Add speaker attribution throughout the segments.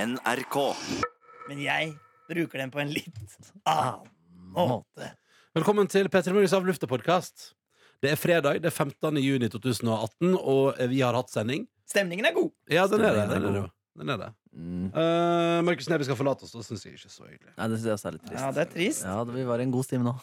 Speaker 1: NRK.
Speaker 2: Men jeg bruker den på en litt annen Ah, måte.
Speaker 3: Velkommen til P3 Morgens Av Lufta-podkast. Det er fredag, det er 15. juni 2018, og eh, vi har hatt sending.
Speaker 2: Stemningen er god.
Speaker 3: Ja, den er det.
Speaker 4: Stemningen er
Speaker 3: Den er det.
Speaker 4: god.
Speaker 3: Den er det.
Speaker 4: Mm.
Speaker 3: Eh, Markus Neby skal forlate oss, det syns jeg ikke er så hyggelig.
Speaker 4: Nei, det syns jeg også er litt trist.
Speaker 2: Ja, det er trist.
Speaker 4: Ja, det- vi var i en god stime nå.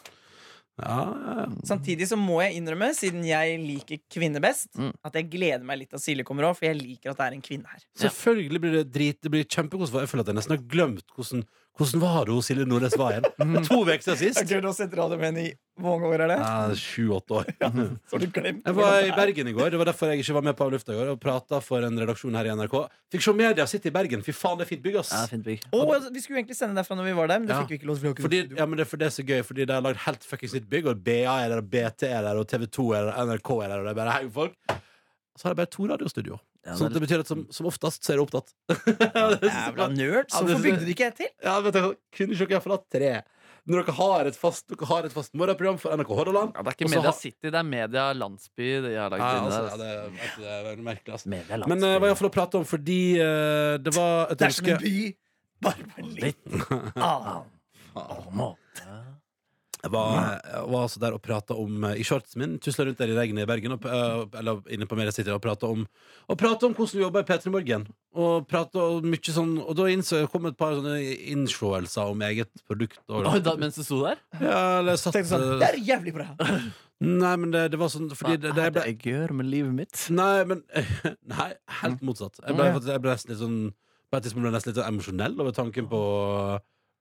Speaker 3: Ja, ja, ja.
Speaker 2: Samtidig så må jeg innrømme, siden jeg liker kvinner best,
Speaker 4: Mm.
Speaker 2: at jeg gleder meg litt til at Silje kommer òg, for jeg liker at det er en kvinne her.
Speaker 3: Selvfølgelig blir det drit. Det blir kjempekos. Jeg føler at jeg nesten har glemt hvordan, hvordan var det hos Silje Nordnes var igjen. Det er To uker siden sist.
Speaker 2: du har sett Radiomenn i hvor mange år er det?
Speaker 3: Ja, Sju-åtte år.
Speaker 2: Så har du glemt
Speaker 3: Jeg var i Bergen i går. Det var derfor jeg ikke var med på Av lufta i går. Og prata for en redaksjon her i NRK. Fikk se media sitte i Bergen. Fy faen, det er fint bygg, ass.
Speaker 4: Ja, fint bygg.
Speaker 2: vi skulle egentlig sende derfra når vi var der, men det
Speaker 3: Ja.
Speaker 2: fikk vi ikke lov til. for vi
Speaker 3: Fordi,
Speaker 2: har ikke
Speaker 3: ja, men det er for det er så gøy, fordi de har lagd helt fuckings nytt bygg, og BA er der, og BT er der, og TV2 er der, og NRK er der, og det er bare hei, folk. Og så har de bare to radiostudio.
Speaker 4: Ja,
Speaker 3: sånn at
Speaker 4: det
Speaker 3: det
Speaker 4: er,
Speaker 3: betyr at som, som oftest så er det opptatt.
Speaker 2: duo. Jævla nerd. Så
Speaker 3: Ja, det-
Speaker 2: hvorfor bygde du ikke jeg til?
Speaker 3: Ja, vet du, Kunne ikke dere forlatt tre? Når dere har et fast, dere har et fast morgenprogram for NRK Hordaland
Speaker 5: Ja, det er ikke
Speaker 3: Og så
Speaker 5: Media
Speaker 3: har-
Speaker 5: City, det er Media Landsby. Det jeg har
Speaker 3: ja,
Speaker 5: lagd inn
Speaker 3: altså,
Speaker 5: der,
Speaker 3: ja, det, er- vet du, det er veldig merkelig, ass.
Speaker 4: Media landsby.
Speaker 3: Men eh, hva er iallfall å prate om, fordi eh, det var et
Speaker 2: Det er som
Speaker 3: ønske
Speaker 2: en by, bare på en litt annen.
Speaker 3: Jeg var, jeg var altså der og prata om eh, i shortsen min. Tusla rundt der i regnet i Bergen og, eh, eller inne på Media City og prata om, og pratet om hvordan du jobber i P3 Morgen. Og, pratet om mye sånn, og da innså jeg kom et par sånne innseelser om eget produkt. Og,
Speaker 5: Oi, da, mens du sto der?
Speaker 3: ja, eller jeg satt,
Speaker 2: Tenkte sånn, det
Speaker 3: eh,
Speaker 2: er jævlig bra.
Speaker 3: Nei, men det, det var sånn fordi det, det, jeg ble,
Speaker 4: jeg gjør med livet mitt?
Speaker 3: Nei, men Nei, helt motsatt. Jeg ble,
Speaker 4: Mm, ja.
Speaker 3: faktisk- jeg ble nesten litt sånn På et tidspunkt ble jeg nesten litt sånn emosjonell over tanken på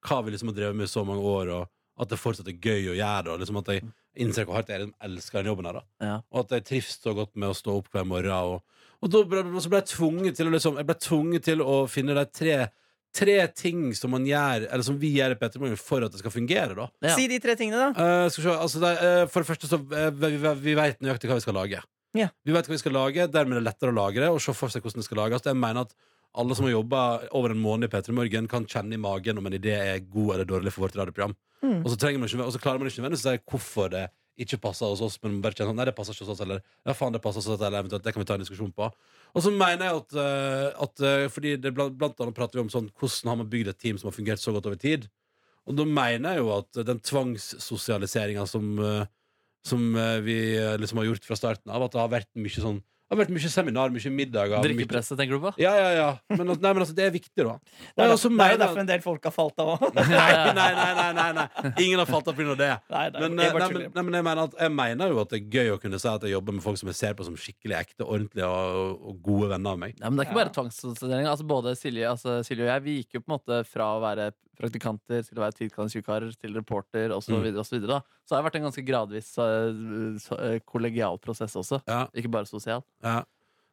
Speaker 3: hva vi liksom har drevet med i så mange år, og at det fortsatt er gøy å gjøre, og liksom at jeg innser hvor hardt jeg liksom elsker den jobben her, da.
Speaker 4: Ja.
Speaker 3: Og at jeg trives så godt med å stå opp hver morgen, og, og da ble, og så ble jeg tvunget til å liksom Jeg ble tvunget til å finne de tre Tre ting som man gjør Eller som vi gjør i Petter Morgen for at det skal fungere, da.
Speaker 4: Ja.
Speaker 2: Si de tre tingene, da.
Speaker 3: Eh, skal vi se, altså det, er, eh, for det første så eh, vi, vi, vi vet nøyaktig hva vi skal lage.
Speaker 2: Ja.
Speaker 3: Vi vet hva vi skal lage, Dermed er det lettere å lage det og se for seg hvordan det skal lages. Jeg mener at alle som har jobba over en måned i P3 Morgen, kan kjenne i magen om en idé er god eller dårlig for vårt radioprogram. Og, så trenger man ikke, og så klarer man ikke nødvendigvis å si hvorfor det ikke passer hos oss, men bare kjenne sånn Nei, det passer ikke hos oss, eller Ja, faen, det passer hos oss, eller eventuelt Det kan vi ta en diskusjon på. Og så mener jeg at, eh, at eh, Fordi det blant, blant annet prater vi om sånn hvordan har man bygd et team som har fungert så godt over tid. Og da mener jeg jo at den tvangssosialiseringa som, eh, som eh, vi eh, liksom har gjort fra starten av, at det har vært mye sånn det har vært mye seminar, mye middager mye...
Speaker 5: Drikkepresset, tenker du på?
Speaker 3: Ja, ja, ja. Men, at- nei, men altså, det er viktig, da.
Speaker 2: Det
Speaker 3: Og
Speaker 2: er,
Speaker 3: jeg
Speaker 2: derfor,
Speaker 3: også
Speaker 2: det er jo
Speaker 3: mener-
Speaker 2: derfor en del folk har falt av òg.
Speaker 3: nei, nei, nei, nei, nei, nei. Ingen har falt av pga. det.
Speaker 2: Nei, nei,
Speaker 3: Men,
Speaker 2: jeg
Speaker 3: eh,
Speaker 2: bare
Speaker 3: nei,
Speaker 2: tuller.
Speaker 3: men, nei, men jeg, mener at, jeg mener jo at det er gøy å kunne si at jeg jobber med folk som jeg ser på som skikkelig ekte, ordentlige og, og gode venner av meg.
Speaker 5: Ja, men det er ikke bare tvangssosialisering. Altså, både Silje, altså, Silje og jeg Vi gikk jo på en måte fra å være praktikanter til å være tidkantsykarer til reporter osv. Så,
Speaker 3: Mm.
Speaker 5: videre, og så, videre, da. så det har vært en ganske gradvis eh, så, eh, kollegial prosess også.
Speaker 3: Ja.
Speaker 5: Ikke bare sosial.
Speaker 3: Ja.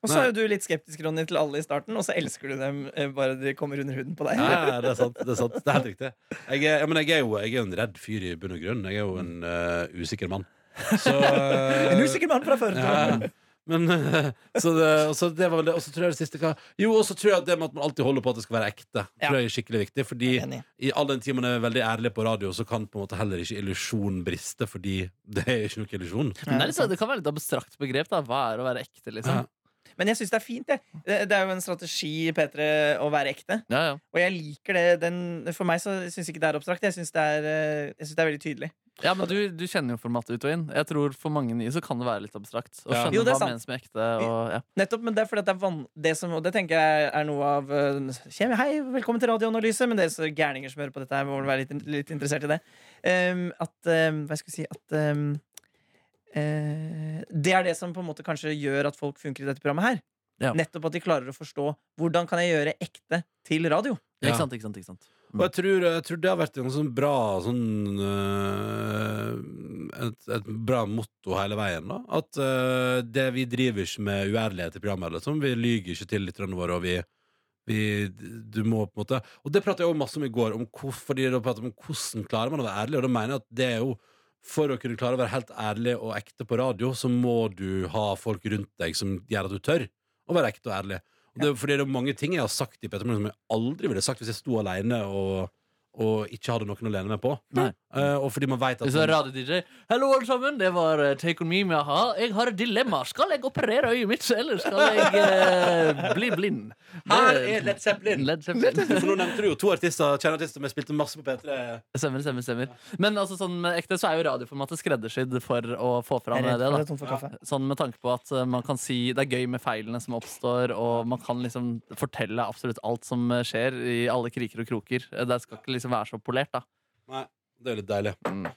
Speaker 2: Og så er jo du litt skeptisk, Ronny, til alle i starten, og så elsker du dem eh, bare de kommer under huden på deg.
Speaker 3: Ja, ja, det er sant. Det er, sant. Det er helt riktig. Jeg er, ja, men jeg er jo jeg er jo en redd fyr i bunn og grunn. Jeg er jo en eh, usikker mann. Så eh,
Speaker 2: En usikker mann fra før.
Speaker 3: ja, ja. men, eh, så det, og så det var vel det. Og så tror jeg det siste hva Jo, og så tror jeg at det med at man alltid holder på at det skal være ekte,
Speaker 2: Ja.
Speaker 3: tror jeg er skikkelig viktig. Fordi
Speaker 2: Enig.
Speaker 3: i all den tid man er veldig ærlig på radio, så kan på en måte heller ikke illusjon briste, fordi det er ikke noe illusjon.
Speaker 5: Men det, er litt, sånn- det kan være litt abstrakt begrep. da Hva er å være ekte, liksom?
Speaker 2: Men jeg syns det er fint. Jeg. Det det er jo en strategi Petre, å være ekte.
Speaker 5: Ja, ja.
Speaker 2: Og jeg liker det. Den, for meg så syns jeg ikke det er abstrakt. Jeg syns det, er, eh, jeg synes det er veldig tydelig.
Speaker 5: Ja, men du, du kjenner jo formatet ut og inn. Jeg tror For mange nye så kan det være litt abstrakt. Å
Speaker 3: Ja.
Speaker 5: skjønne
Speaker 2: Jo, det er
Speaker 5: hva
Speaker 2: sant.
Speaker 5: menes med ekte. Og, ja.
Speaker 2: Nettopp, men det er fordi at det er van det som, Og det tenker jeg er noe av eh, kjem- Hei, velkommen til Radioanalyse. Men dere så gærninger som hører på dette, her må vel være litt, litt interessert i det. Ehm, at ehm, Hva skal jeg si At ehm, eh, Det er det som på en måte kanskje gjør at folk funker i dette programmet her.
Speaker 5: Ja.
Speaker 2: Nettopp at de klarer å forstå hvordan kan jeg gjøre ekte til radio.
Speaker 3: Ja.
Speaker 5: Ikke sant, ikke sant, ikke sant.
Speaker 3: Og jeg tror, jeg tror det har vært en sånn bra sånn øh, et, et bra motto hele veien, da. At øh, det vi driver ikke med uærlighet i programmet, liksom. Vi lyger ikke til lytterne våre, og vi, vi Du må på en måte Og det pratet jeg også masse om i går, om hvorfor de da pratet om hvordan klarer man å være ærlig, og da mener jeg at det er jo for å kunne klare å være helt ærlig og ekte på radio, så må du ha folk rundt deg som gjør at du tør å være ekte og ærlig. Og det, fordi det er mange ting jeg har sagt i Petter Morgen som jeg aldri ville sagt hvis jeg sto alene og og ikke hadde noen å lene meg på.
Speaker 5: Nei.
Speaker 3: Eh, og fordi man vet at
Speaker 5: Du sa radio-DJ. Hallo, alle sammen. Det var eh, Take On Me med a-ha. Jeg har et dilemma. Skal jeg operere øyet mitt, eller skal jeg eh, bli blind?
Speaker 3: Her er Led Zeppelin!
Speaker 5: Led Zeppelin.
Speaker 3: For nå nevnte du jo to artister, kjenneartister som jeg spilte masse på P3.
Speaker 5: Stemmer, stemmer, stemmer. Men altså, sånn med ekte så er jo radioformatet skreddersydd for å få
Speaker 2: Jeg
Speaker 5: fram
Speaker 2: er
Speaker 5: det. da
Speaker 2: redd for at jeg er tom for kaffe.
Speaker 5: Sånn med tanke på at eh, man kan si Det er gøy med feilene som oppstår, og man kan liksom fortelle absolutt alt som eh, skjer i alle kriker og kroker. Eh, Det skal ikke liksom være så polert, da.
Speaker 3: Det er jo litt deilig.
Speaker 5: Mm.
Speaker 3: Eh,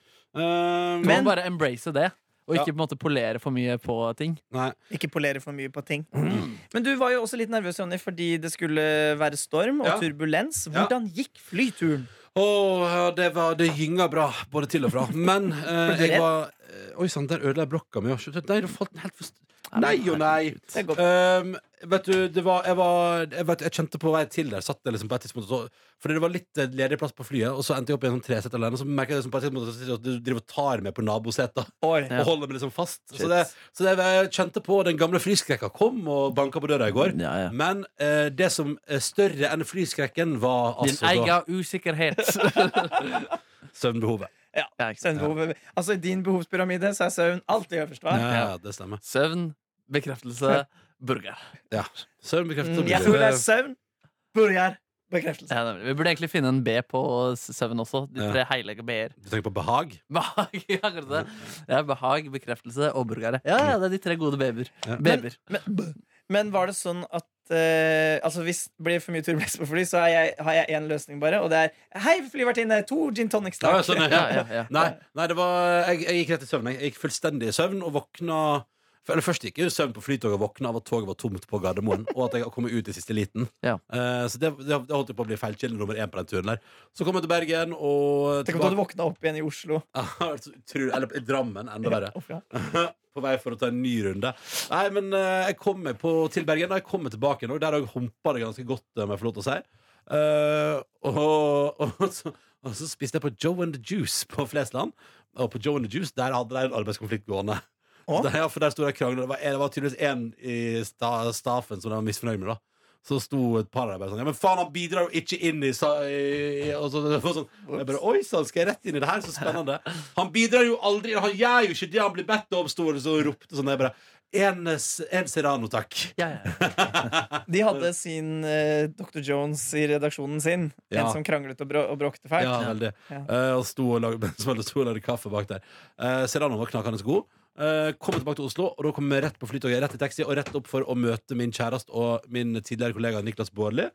Speaker 5: Man
Speaker 2: Men-
Speaker 5: må bare embrace det, og
Speaker 3: Ja.
Speaker 5: ikke på en måte polere for mye på ting.
Speaker 3: Nei.
Speaker 2: Ikke polere for mye på ting. Men du var jo også litt nervøs Jonny, fordi det skulle være storm og
Speaker 3: Ja.
Speaker 2: turbulens.
Speaker 3: Ja.
Speaker 2: Hvordan gikk flyturen?
Speaker 3: Åh, ja, det, var, det gynga bra, både til og fra. Men eh,
Speaker 2: Ble du
Speaker 3: jeg
Speaker 2: redd?
Speaker 3: var eh, Oi sann, der ødela jeg blokka mi. Nei, da falt den helt for st- Nei og nei.
Speaker 2: Det er godt.
Speaker 3: Um, vet du, det var, jeg, var jeg, vet, jeg kjente på vei til der. Satt jeg liksom på et tidspunkt og så, Fordi det var litt eh, ledig plass på flyet, og så endte jeg opp i en sånn tresett alene. Og så merket jeg liksom på et tidspunkt at jeg sitter og- du driver og tar meg på naboseta
Speaker 2: Oi.
Speaker 5: Ja.
Speaker 3: og holder meg liksom fast. Så, det, så det, jeg kjente på den gamle flyskrekka kom og banka på døra i går.
Speaker 4: Ja, ja.
Speaker 3: Men eh, det som er større enn flyskrekken, var
Speaker 5: Din
Speaker 3: altså da
Speaker 5: egen usikkerhet.
Speaker 3: søvnbehovet.
Speaker 5: Ja, ikke sant?
Speaker 2: Søvnbehov- Altså, I din behovspyramide så er søvn alltid øverst. hva?
Speaker 3: Ja, ja, det stemmer.
Speaker 5: Søvn, bekreftelse, burger.
Speaker 3: Ja. Søvnbekreftelse
Speaker 2: Mm,
Speaker 3: blir
Speaker 2: jeg
Speaker 3: det.
Speaker 2: tror det er søvn, burger, bekreftelse.
Speaker 5: Ja, nemlig. vi burde egentlig finne en B på s- søvn også. De
Speaker 3: Ja.
Speaker 5: tre heilige B-er.
Speaker 3: Du tenker på behag?
Speaker 5: Behag, ja, akkurat det. Ja, behag, bekreftelse og burgere. Ja, ja, det er de tre gode B-er.
Speaker 3: Ja.
Speaker 5: B-er.
Speaker 2: Men, men var det sånn at eh, altså Hvis det blir for mye turbulens på fly, så har jeg- har jeg én løsning bare, og det er Hei, flyvertinne! To gin tonics,
Speaker 3: Ja,
Speaker 2: takk.
Speaker 3: sånn, ja.
Speaker 5: Ja, ja, ja.
Speaker 3: Nei, nei det var, jeg, jeg gikk rett i søvn. Jeg Jeg gikk fullstendig i søvn og våkna eller Først gikk jeg i søvn på flytoget og våkna av at toget var tomt på Gardermoen. Og at jeg kom ut i siste liten.
Speaker 5: Ja.
Speaker 3: Eh, så det, det, det holdt jo på å bli feilkilde nummer én på den turen der. Så kom jeg til Bergen og
Speaker 2: Tenk om du hadde våkna opp igjen i Oslo.
Speaker 3: Utrolig- Eller i Drammen, enda verre.
Speaker 2: Hvorfor da?
Speaker 3: på vei for å ta en ny runde. Nei, men eh, jeg kom meg på, til Bergen, og jeg kom meg tilbake nå. Der har jeg humpa det ganske godt, om jeg får lov til å si. Eh, og, og, så, og så spiste jeg på Joe and the Juice på Flesland. Og på Joe and the Juice der hadde de en arbeidskonflikt gående.
Speaker 2: Å?
Speaker 3: Der, ja, for der sto det krangler. Det var, det var tydeligvis én i sta, staffen som de var misfornøyd med. da så sto et par der bare sånn Ja, men faen, han bidrar jo ikke inn i, sa, i, i og så, det var sånn, Jeg bare Oi sann, skal jeg rett inn i det her? Så spennende. Han bidrar jo aldri. Han gjør jo ikke det han blir bedt om, sto det så og ropte sånn. Jeg bare En, s- en Serrano, takk.
Speaker 5: Ja, ja.
Speaker 2: De hadde sin eh, Dr. Jones i redaksjonen sin.
Speaker 3: Ja.
Speaker 2: En som kranglet og, brå og bråkte fælt.
Speaker 3: Ja, veldig.
Speaker 2: Ja.
Speaker 3: Eh, og sto og lagde, mens alle sto og lagde kaffe bak der. Eh, Serrano var knakende god. Eh, kom tilbake til Oslo, og da kom jeg rett på flytoget, rett i taxi, og rett opp for å møte min kjæreste og min tidligere kollega Niklas Baarli,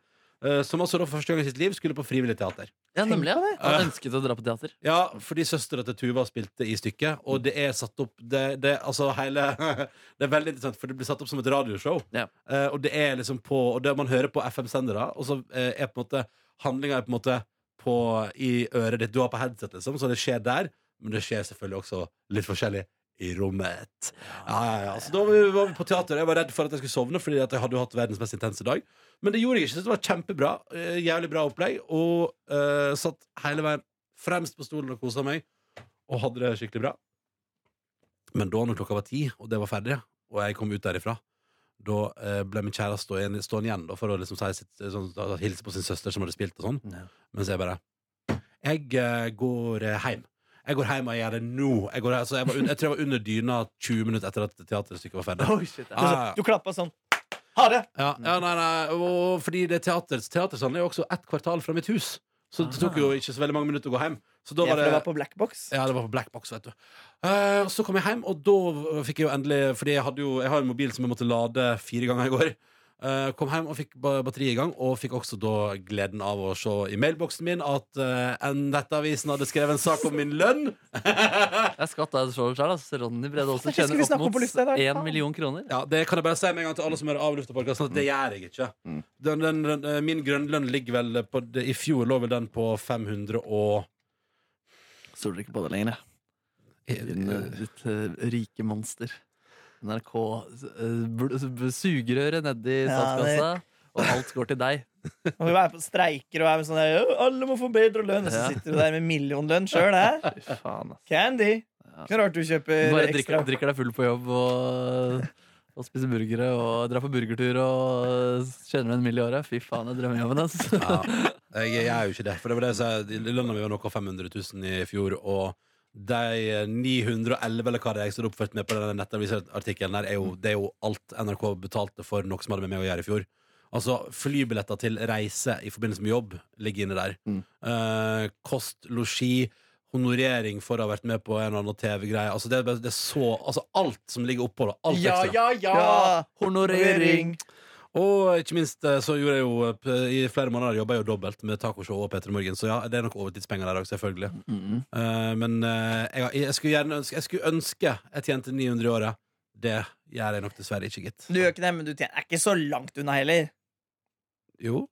Speaker 3: eh, som altså da for første gang i sitt liv skulle på frivillig teater.
Speaker 5: ja nemlig. Ja. Han ønsket å dra på teater.
Speaker 3: Ja, fordi søstera til Tuva spilte i stykket, og det er satt opp Det, det, altså hele, det er veldig interessant, for det blir satt opp som et radioshow.
Speaker 5: Ja.
Speaker 3: Eh, og det er liksom på Og det man hører på FM-sendere, og så eh, er på en måte handlinga er på en måte på, i øret ditt. Du har på headset, liksom, så det skjer der. Men det skjer selvfølgelig også litt forskjellig i rommet. Ja, ja, ja. Så da var vi, var vi på teater. Jeg var redd for at jeg skulle sovne, fordi at jeg hadde jo hatt verdens mest intense dag. Men det gjorde jeg ikke. Så det var kjempebra. eh, Jævlig bra opplegg. Og eh, satt hele veien fremst på stolen og kosa meg, og hadde det skikkelig bra. Men da når klokka var ti, og det var ferdig, og jeg kom ut derifra, da eh, ble min kjære stående, stående igjen da, for å liksom si sitt, sånn, da- da hilse på sin søster som hadde spilt og sånn.
Speaker 4: Ja.
Speaker 3: Mens jeg bare Jeg eh, går eh, hjem. Jeg går hjem og jeg gjør det nå. Jeg, går, altså, jeg, var, un- jeg tror jeg var under dyna 20 minutter etter at teaterstykket var ferdig.
Speaker 5: Oi, shit,
Speaker 2: Du,
Speaker 5: ja.
Speaker 3: Ah, Ja, ja, ja.
Speaker 2: så- du klappa sånn. Ha det!
Speaker 3: Ja, ja nei, nei, og fordi det teater, teatersalen er jo også ett kvartal fra mitt hus. Så det tok jo ikke så veldig mange minutter å gå hjem. Så da
Speaker 2: Ja,
Speaker 3: var
Speaker 2: for det
Speaker 3: det
Speaker 2: var på Blackbox.
Speaker 3: ja, det var på Black Box, vet du. Eh, og så kom jeg hjem, og da fikk jeg jo endelig Fordi jeg, hadde jo, jeg har jo en mobil som jeg måtte lade fire ganger i går. Eh, kom hjem og fikk ba- batteriet i gang, og fikk også da gleden av å se i mailboksen min at eh, Nettavisen hadde skrevet en sak om min lønn.
Speaker 5: Jeg skvatt da jeg så det selv. Altså. Ronny Brede Olsen
Speaker 2: Hvorfor skulle
Speaker 5: tjener
Speaker 2: vi snakke
Speaker 5: opp
Speaker 2: om på lufta i
Speaker 5: mot
Speaker 2: dag?
Speaker 5: én
Speaker 2: Faen.
Speaker 5: million kroner.
Speaker 3: Ja, Det kan jeg bare si med en gang til alle som hører av Luftapodkasten, at det gjør jeg ikke. Den, den, den, eh, min grønnlønn ligger vel på det, I fjor lå vel den på 500 og
Speaker 5: Stoler ikke på det lenger, jeg. Din, eh, Ditt eh, rike monster. NRK eh, bl- bl- sugerøret nedi
Speaker 2: Ja,
Speaker 5: statskassa, og alt går til deg.
Speaker 2: Og vi var på streiker og er sånn der, «Å, alle må få bedre lønn. Og så
Speaker 5: Ja.
Speaker 2: sitter du der med millionlønn sjøl, hæ?
Speaker 5: Fy faen, ass.
Speaker 2: Candy.
Speaker 5: Ja.
Speaker 2: Ikke noe rart du kjøper
Speaker 5: Bare drikker,
Speaker 2: ekstra.
Speaker 5: drikker deg full på jobb og, og spiser eh, burgere og drar på burgertur og tjener en mill. i året. Fy faen, det er drømmejobben hans.
Speaker 3: Ja. Jeg, jeg er jo ikke det. For det var det jeg sa, Lønna mi var noe av 500 000 i fjor, og de 911, eller hva det er jeg står oppført med på den nettavisartikkelen, der, er jo, det er jo alt NRK betalte for noe som hadde med meg å gjøre i fjor. Altså, Flybilletter til reise i forbindelse med jobb ligger inne der.
Speaker 4: Mm.
Speaker 3: Eh, kost, losji, honorering for å ha vært med på en eller annen TV-greie. Altså, det, er bare- det er så Altså, alt som ligger oppå det. Alt
Speaker 5: Ja,
Speaker 3: ekstra.
Speaker 5: ja, ja! Honorering.
Speaker 3: Og ikke minst eh, så gjorde jeg jo eh, p- I flere måneder jobba jeg jo dobbelt med tacoshow og Peter Morgen, så ja, det er nok overtidspenger der òg, selvfølgelig.
Speaker 4: Mm.
Speaker 3: Eh, men eh, jeg, jeg, skulle gjerne ønske, jeg skulle ønske jeg tjente 900 i året. Det gjør jeg nok dessverre ikke, gitt.
Speaker 2: Du gjør ikke det, men du tjener- er ikke så langt unna heller.
Speaker 3: Jo.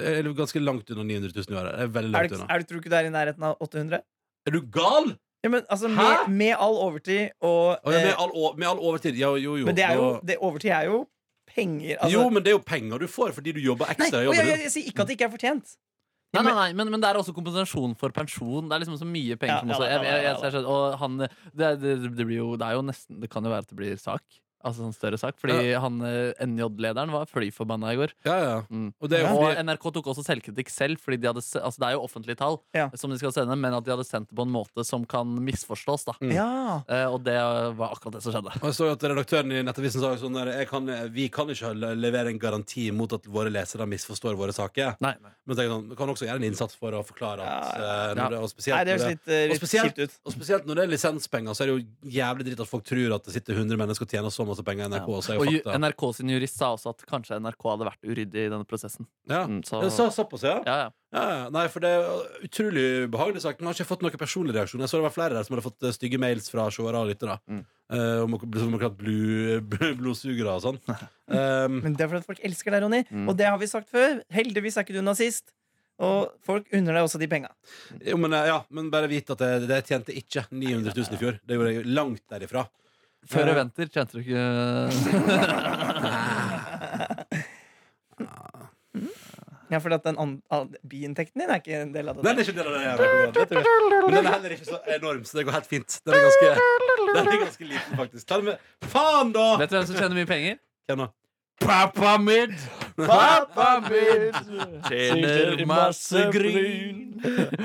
Speaker 3: Jeg er ganske langt unna 900 000 i året. Jeg er veldig
Speaker 2: Er
Speaker 3: langt
Speaker 2: du,
Speaker 3: unna.
Speaker 2: er du, tror du ikke du er i nærheten av 800?
Speaker 3: Er du gal?!
Speaker 2: Ja, men altså,
Speaker 3: Hæ?
Speaker 2: med, med all overtid og
Speaker 3: Og jeg,
Speaker 2: eh,
Speaker 3: med, all, o- med all overtid. Ja, jo, jo.
Speaker 2: Men det er jo,
Speaker 3: og-
Speaker 2: det, overtid er jo penger. Altså,
Speaker 3: jo, men det er jo penger du får fordi du jobber
Speaker 2: nei,
Speaker 3: ekstra. i
Speaker 2: å,
Speaker 3: jobben
Speaker 2: jeg,
Speaker 3: din.
Speaker 2: jeg, jeg sier ikke at det ikke er fortjent.
Speaker 5: Nei, nei, nei men, men det er også kompensasjon for pensjon. Det er liksom så mye penger
Speaker 2: Ja,
Speaker 5: som
Speaker 2: ja
Speaker 5: også
Speaker 2: da, ja
Speaker 5: jeg,
Speaker 2: da,
Speaker 5: jeg, jeg,
Speaker 2: ja da.
Speaker 5: skjønner- Og han det, det, det blir jo Det er jo nesten Det kan jo være at det blir sak. Altså en større sak. Fordi han eh, NJ-lederen var fly forbanna i går.
Speaker 3: Ja, ja.
Speaker 5: Mm.
Speaker 3: Og det er jo
Speaker 5: Og
Speaker 3: fordi
Speaker 5: NRK tok også selvkritikk selv, Fordi de hadde, se- altså det er jo offentlige tall
Speaker 2: Ja.
Speaker 5: som de skal sende, men at de hadde sendt det på en måte som kan misforstås. da
Speaker 3: Mm.
Speaker 2: Ja.
Speaker 5: Eh, Og det var akkurat det som skjedde.
Speaker 3: Og jeg så jo at redaktøren i Nettavisen sa jo sånn der, jeg kan, Vi kan ikke le- levere en garanti mot at våre lesere misforstår våre saker.
Speaker 5: Nei,
Speaker 3: Men tenk sånn, du kan også gjøre en innsats for å forklare at
Speaker 5: Ja.
Speaker 3: eh, når det, og, spesielt,
Speaker 2: Nei, det høres
Speaker 3: når det,
Speaker 2: litt, eh,
Speaker 3: Og
Speaker 2: litt
Speaker 3: spesielt-
Speaker 2: kjipt ut.
Speaker 3: og spesielt når det er lisenspenger, så er det jo jævlig dritt at folk tror at det sitter 100 mennesker og tjener så masse penger i NRK. Og så er
Speaker 5: Og
Speaker 3: jo
Speaker 5: ju-
Speaker 3: fakta.
Speaker 5: NRK sin jurist sa også at kanskje NRK hadde vært uryddig i denne prosessen.
Speaker 3: Ja.
Speaker 5: Mm, så,
Speaker 3: Ja, Så, såpass, ja.
Speaker 5: ja, ja.
Speaker 3: Ja, ja. Nei, for det er utrolig ubehagelig sagt. Men har ikke fått noen personlig reaksjon. Jeg så det var flere der som hadde fått eh, stygge mails fra seere og lyttere.
Speaker 4: Mm.
Speaker 3: eh, om å- som om å kalle blod, blodsugere og sånn. Um,
Speaker 2: Men det er fordi at folk elsker deg, Ronny.
Speaker 4: Mm.
Speaker 2: Og det har vi sagt før. Heldigvis er ikke du nazist. Og folk unner deg også de penga.
Speaker 3: Jo, men, eh, ja, men bare vit at det, det tjente ikke 900 000 i fjor. Det gjorde jeg jo langt derifra.
Speaker 5: Før
Speaker 3: Ja.
Speaker 5: og venter tjente du ikke
Speaker 2: Ja, for at den an- an- biinntekten din er ikke en del av det.
Speaker 3: Den er ikke en del av det jeg rekker, det tror jeg. Men den er heller ikke så enorm, så det går helt fint. Den er ganske, den er ganske liten, faktisk. Ta den med. Faen, da!
Speaker 5: Vet du hvem som tjener mye penger?
Speaker 3: Hvem da?
Speaker 5: Pappa mitt! Pappa mitt tjener masse gryn.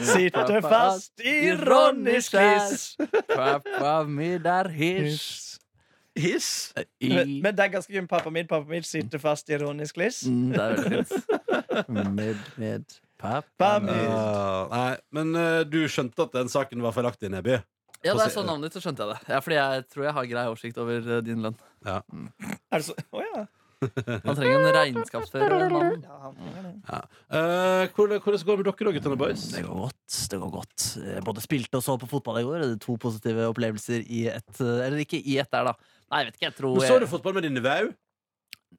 Speaker 2: Sitter fast i Ronnys kliss.
Speaker 5: Pappa mitt er hiss.
Speaker 3: Hiss?
Speaker 5: I...
Speaker 2: Men men det er ganske gøy med pappa min. Pappa min sitter fast i Ronnys kliss.
Speaker 5: Mm, det er veldig fint.
Speaker 4: Med, med.
Speaker 5: Pappa.
Speaker 2: Pappa min.
Speaker 3: Ah, nei, men eh, du skjønte at den saken var feilaktig, Neby?
Speaker 5: Ja, da jeg så navnet ditt, så skjønte jeg det. Ja, fordi jeg tror jeg har grei oversikt over eh, din lønn.
Speaker 2: Er det så Å ja.
Speaker 5: Han trenger en regnskapsfører. mann.
Speaker 2: ja. han trenger det.
Speaker 3: Eh, hvor- Hvordan går det med dere da, guttene boys?
Speaker 4: Det går godt. det går godt Jeg både spilte og så på fotball i går. Det er To positive opplevelser i ett eh, Eller ikke i
Speaker 5: I ett der, da. Nei, jeg vet ikke. Jeg tror
Speaker 3: Men så
Speaker 5: jeg...
Speaker 3: du fotball med din nevø?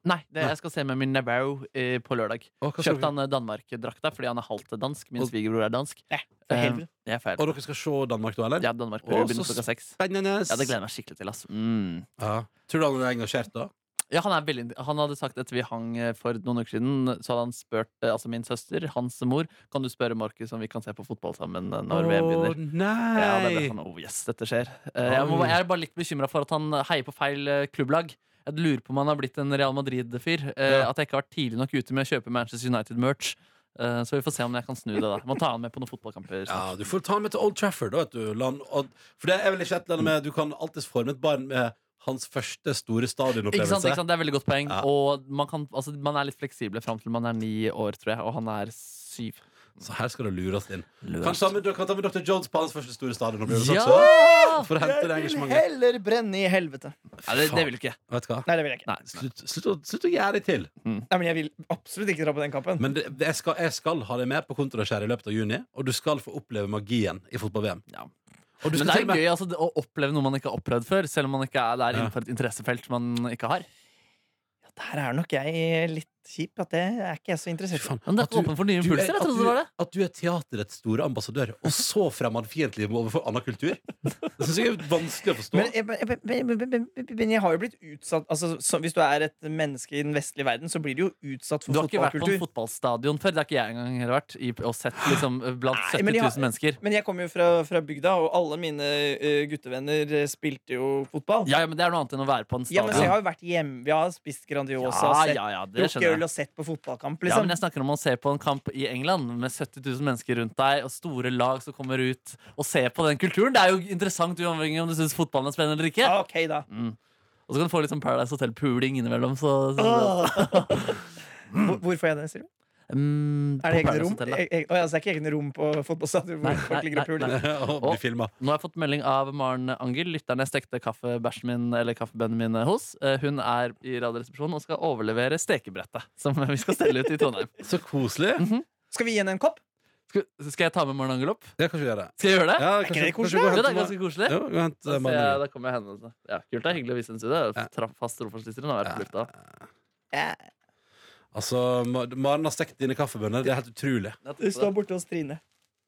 Speaker 5: Nei, det, jeg skal se med min nevø eh, på lørdag.
Speaker 3: Og hva skal
Speaker 5: Kjøpte han
Speaker 3: dere-
Speaker 5: eh, Danmark-drakta fordi han er halvt dansk. Min
Speaker 3: Og-
Speaker 5: svigerbror er dansk.
Speaker 2: Eh, for
Speaker 5: Eh,
Speaker 2: helvete.
Speaker 5: det er feil.
Speaker 3: Og dere skal se Danmark da, eller?
Speaker 5: Ja, Danmark
Speaker 3: Å, så
Speaker 5: begynner klokka seks.
Speaker 3: Spennende.
Speaker 5: Ja, det gleder jeg meg skikkelig til. Ass. Mm.
Speaker 3: Ja. Tror du han er engasjert da?
Speaker 5: Ja, han, er veldig, han hadde sagt etter vi hang eh, for noen uker siden, så hadde han spurt eh, altså min søster, hans mor, kan du spørre Markus om vi kan se på fotball sammen eh, når VM begynner.
Speaker 3: Å, nei!
Speaker 5: Ja, det ble sånn, oh yes, dette skjer Eh, jeg, må,
Speaker 3: Oi.
Speaker 5: jeg er bare litt bekymret for at han heier på feil eh, klubblag Jeg lurer på om han har blitt en Real Madrid-fyr eh,
Speaker 3: Ja.
Speaker 5: At jeg ikke har vært tidlig nok ute med å kjøpe Manchester United-merch Eh, Så vi får se om jeg kan snu det da Må ta han med på noen fotballkamper
Speaker 3: Ja, du får ta med til Old Trafford, da, vet du. Lan, og, for det er vel ikke et eller annet med Du kan alltids forme et barn med hans første store
Speaker 5: Ikke sant,
Speaker 3: stadionopplevelse.
Speaker 5: ikke sant? Det er et veldig godt poeng
Speaker 3: Ja.
Speaker 5: Og man, kan, altså, man er litt fleksible frem til man er ni år, tror jeg Og han er syv
Speaker 3: Så her skal du lures inn. Kan
Speaker 4: løs.
Speaker 3: ta med, kan ta med Dr. Jones på hans første store stadionopplevelse
Speaker 5: Ja!
Speaker 3: også. For å hente det
Speaker 2: Jeg vil
Speaker 3: engasjementet.
Speaker 2: heller brenne i helvete.
Speaker 5: Nei, det, det vil ikke jeg.
Speaker 3: Vet du hva?
Speaker 2: Nei, det vil jeg ikke.
Speaker 5: Nei.
Speaker 3: Slutt, slutt, å, slutt å gjøre det til.
Speaker 2: Nei, men jeg vil absolutt ikke dra på den kampen.
Speaker 3: Men det, det, jeg, skal, jeg skal ha deg med på kontraskjæret i løpet av juni, og du skal få oppleve magien i fotball-VM.
Speaker 5: Ja.
Speaker 3: Og du
Speaker 5: Men
Speaker 3: skal
Speaker 5: det er
Speaker 3: til og
Speaker 5: jo
Speaker 3: med
Speaker 5: gøy altså, det- å oppleve noe man ikke har opplevd før Selv om man ikke er der innenfor et interessefelt man ikke har
Speaker 2: Ja, Der er nok jeg litt kjip. At det er ikke jeg så interessert i.
Speaker 3: Faen,
Speaker 5: Men det
Speaker 3: at
Speaker 5: er
Speaker 3: du-
Speaker 5: åpen for nye
Speaker 3: du er-
Speaker 5: impulser, jeg
Speaker 3: at
Speaker 5: trodde
Speaker 3: du-
Speaker 5: det var det
Speaker 3: At du er teaterets store ambassadør, og så fremmedfiendtlig overfor annen kultur. Det syns jeg er vanskelig å forstå.
Speaker 2: Men jeg, jeg, jeg, jeg, jeg, men jeg har jo blitt utsatt altså, så, Hvis du er et menneske i den vestlige verden, så blir du jo utsatt for
Speaker 5: Du har ikke vært på en
Speaker 2: fotballkultur.
Speaker 5: fotballstadion før. Det har ikke jeg engang heller vært. I, og sett liksom blant
Speaker 2: Nei,
Speaker 5: 70 000
Speaker 2: men jeg har-
Speaker 5: mennesker.
Speaker 2: Men jeg kommer jo fra, fra bygda, og alle mine eh, guttevenner eh, spilte jo fotball.
Speaker 5: Ja, ja, men det er noe annet enn å være på en
Speaker 2: Ja, men så jeg
Speaker 5: stadion.
Speaker 2: har jo vært hjemme. Vi har spist Grandiosa.
Speaker 5: Ja,
Speaker 2: sett-
Speaker 5: ja, ja, det
Speaker 2: drukket
Speaker 5: skjønner
Speaker 2: øl og sett på fotballkamp,
Speaker 5: Ja, men
Speaker 2: liksom.
Speaker 5: jeg snakker om å se på en kamp i England med 70 000 mennesker rundt deg, og store lag som kommer ut og ser på den kulturen. Det er jo interessant uavhengig om du syns fotballen er spennende eller ikke.
Speaker 2: Ah, Ok, da.
Speaker 5: Mm. Og så kan du få litt sånn Paradise Hotel-puling innimellom. Så, så,
Speaker 2: Ah. Hvor- Hvor får jeg det, sier du?
Speaker 5: Mm, på
Speaker 2: Er det egne
Speaker 5: Paradise
Speaker 2: rom?
Speaker 5: Hotel, da.
Speaker 2: E e Å ja, så det er ikke egne rom på fotballstadion
Speaker 5: Nei,
Speaker 2: hvor folk
Speaker 5: nei,
Speaker 2: ligger og
Speaker 5: nei,
Speaker 2: puler?
Speaker 5: nei.
Speaker 3: og bli filma.
Speaker 5: Nå har jeg fått melding av Maren Angel. Lytterne stekte kaffebæsjen min eller kaffebønnen min hos. Eh, Hun er i Radioresepsjonen og skal overlevere stekebrettet som vi skal stelle ut i Trondheim.
Speaker 3: Så koselig.
Speaker 2: Skal vi gi henne en kopp?
Speaker 5: Skal, skal jeg ta med Maren Angel opp?
Speaker 3: Det kan vi gjøre.
Speaker 5: Skal jeg gjøre det?
Speaker 3: Ja,
Speaker 2: ikke det koselig?
Speaker 3: kanskje vi går og
Speaker 5: Det er
Speaker 3: henter-
Speaker 5: ganske koselig.
Speaker 3: Jo, vi går og henter
Speaker 5: Da ser
Speaker 3: mannen.
Speaker 5: jeg- Da kommer jeg henne. Ja, kult. Det er hyggelig å vise henne til det.
Speaker 3: Ja.
Speaker 5: Traff fast rofarslitteren har vært på lufta.
Speaker 2: Ja.
Speaker 3: Altså, Ma- Maren har stekt dine kaffebønner. Det er helt utrolig.
Speaker 2: Det står borte hos Trine.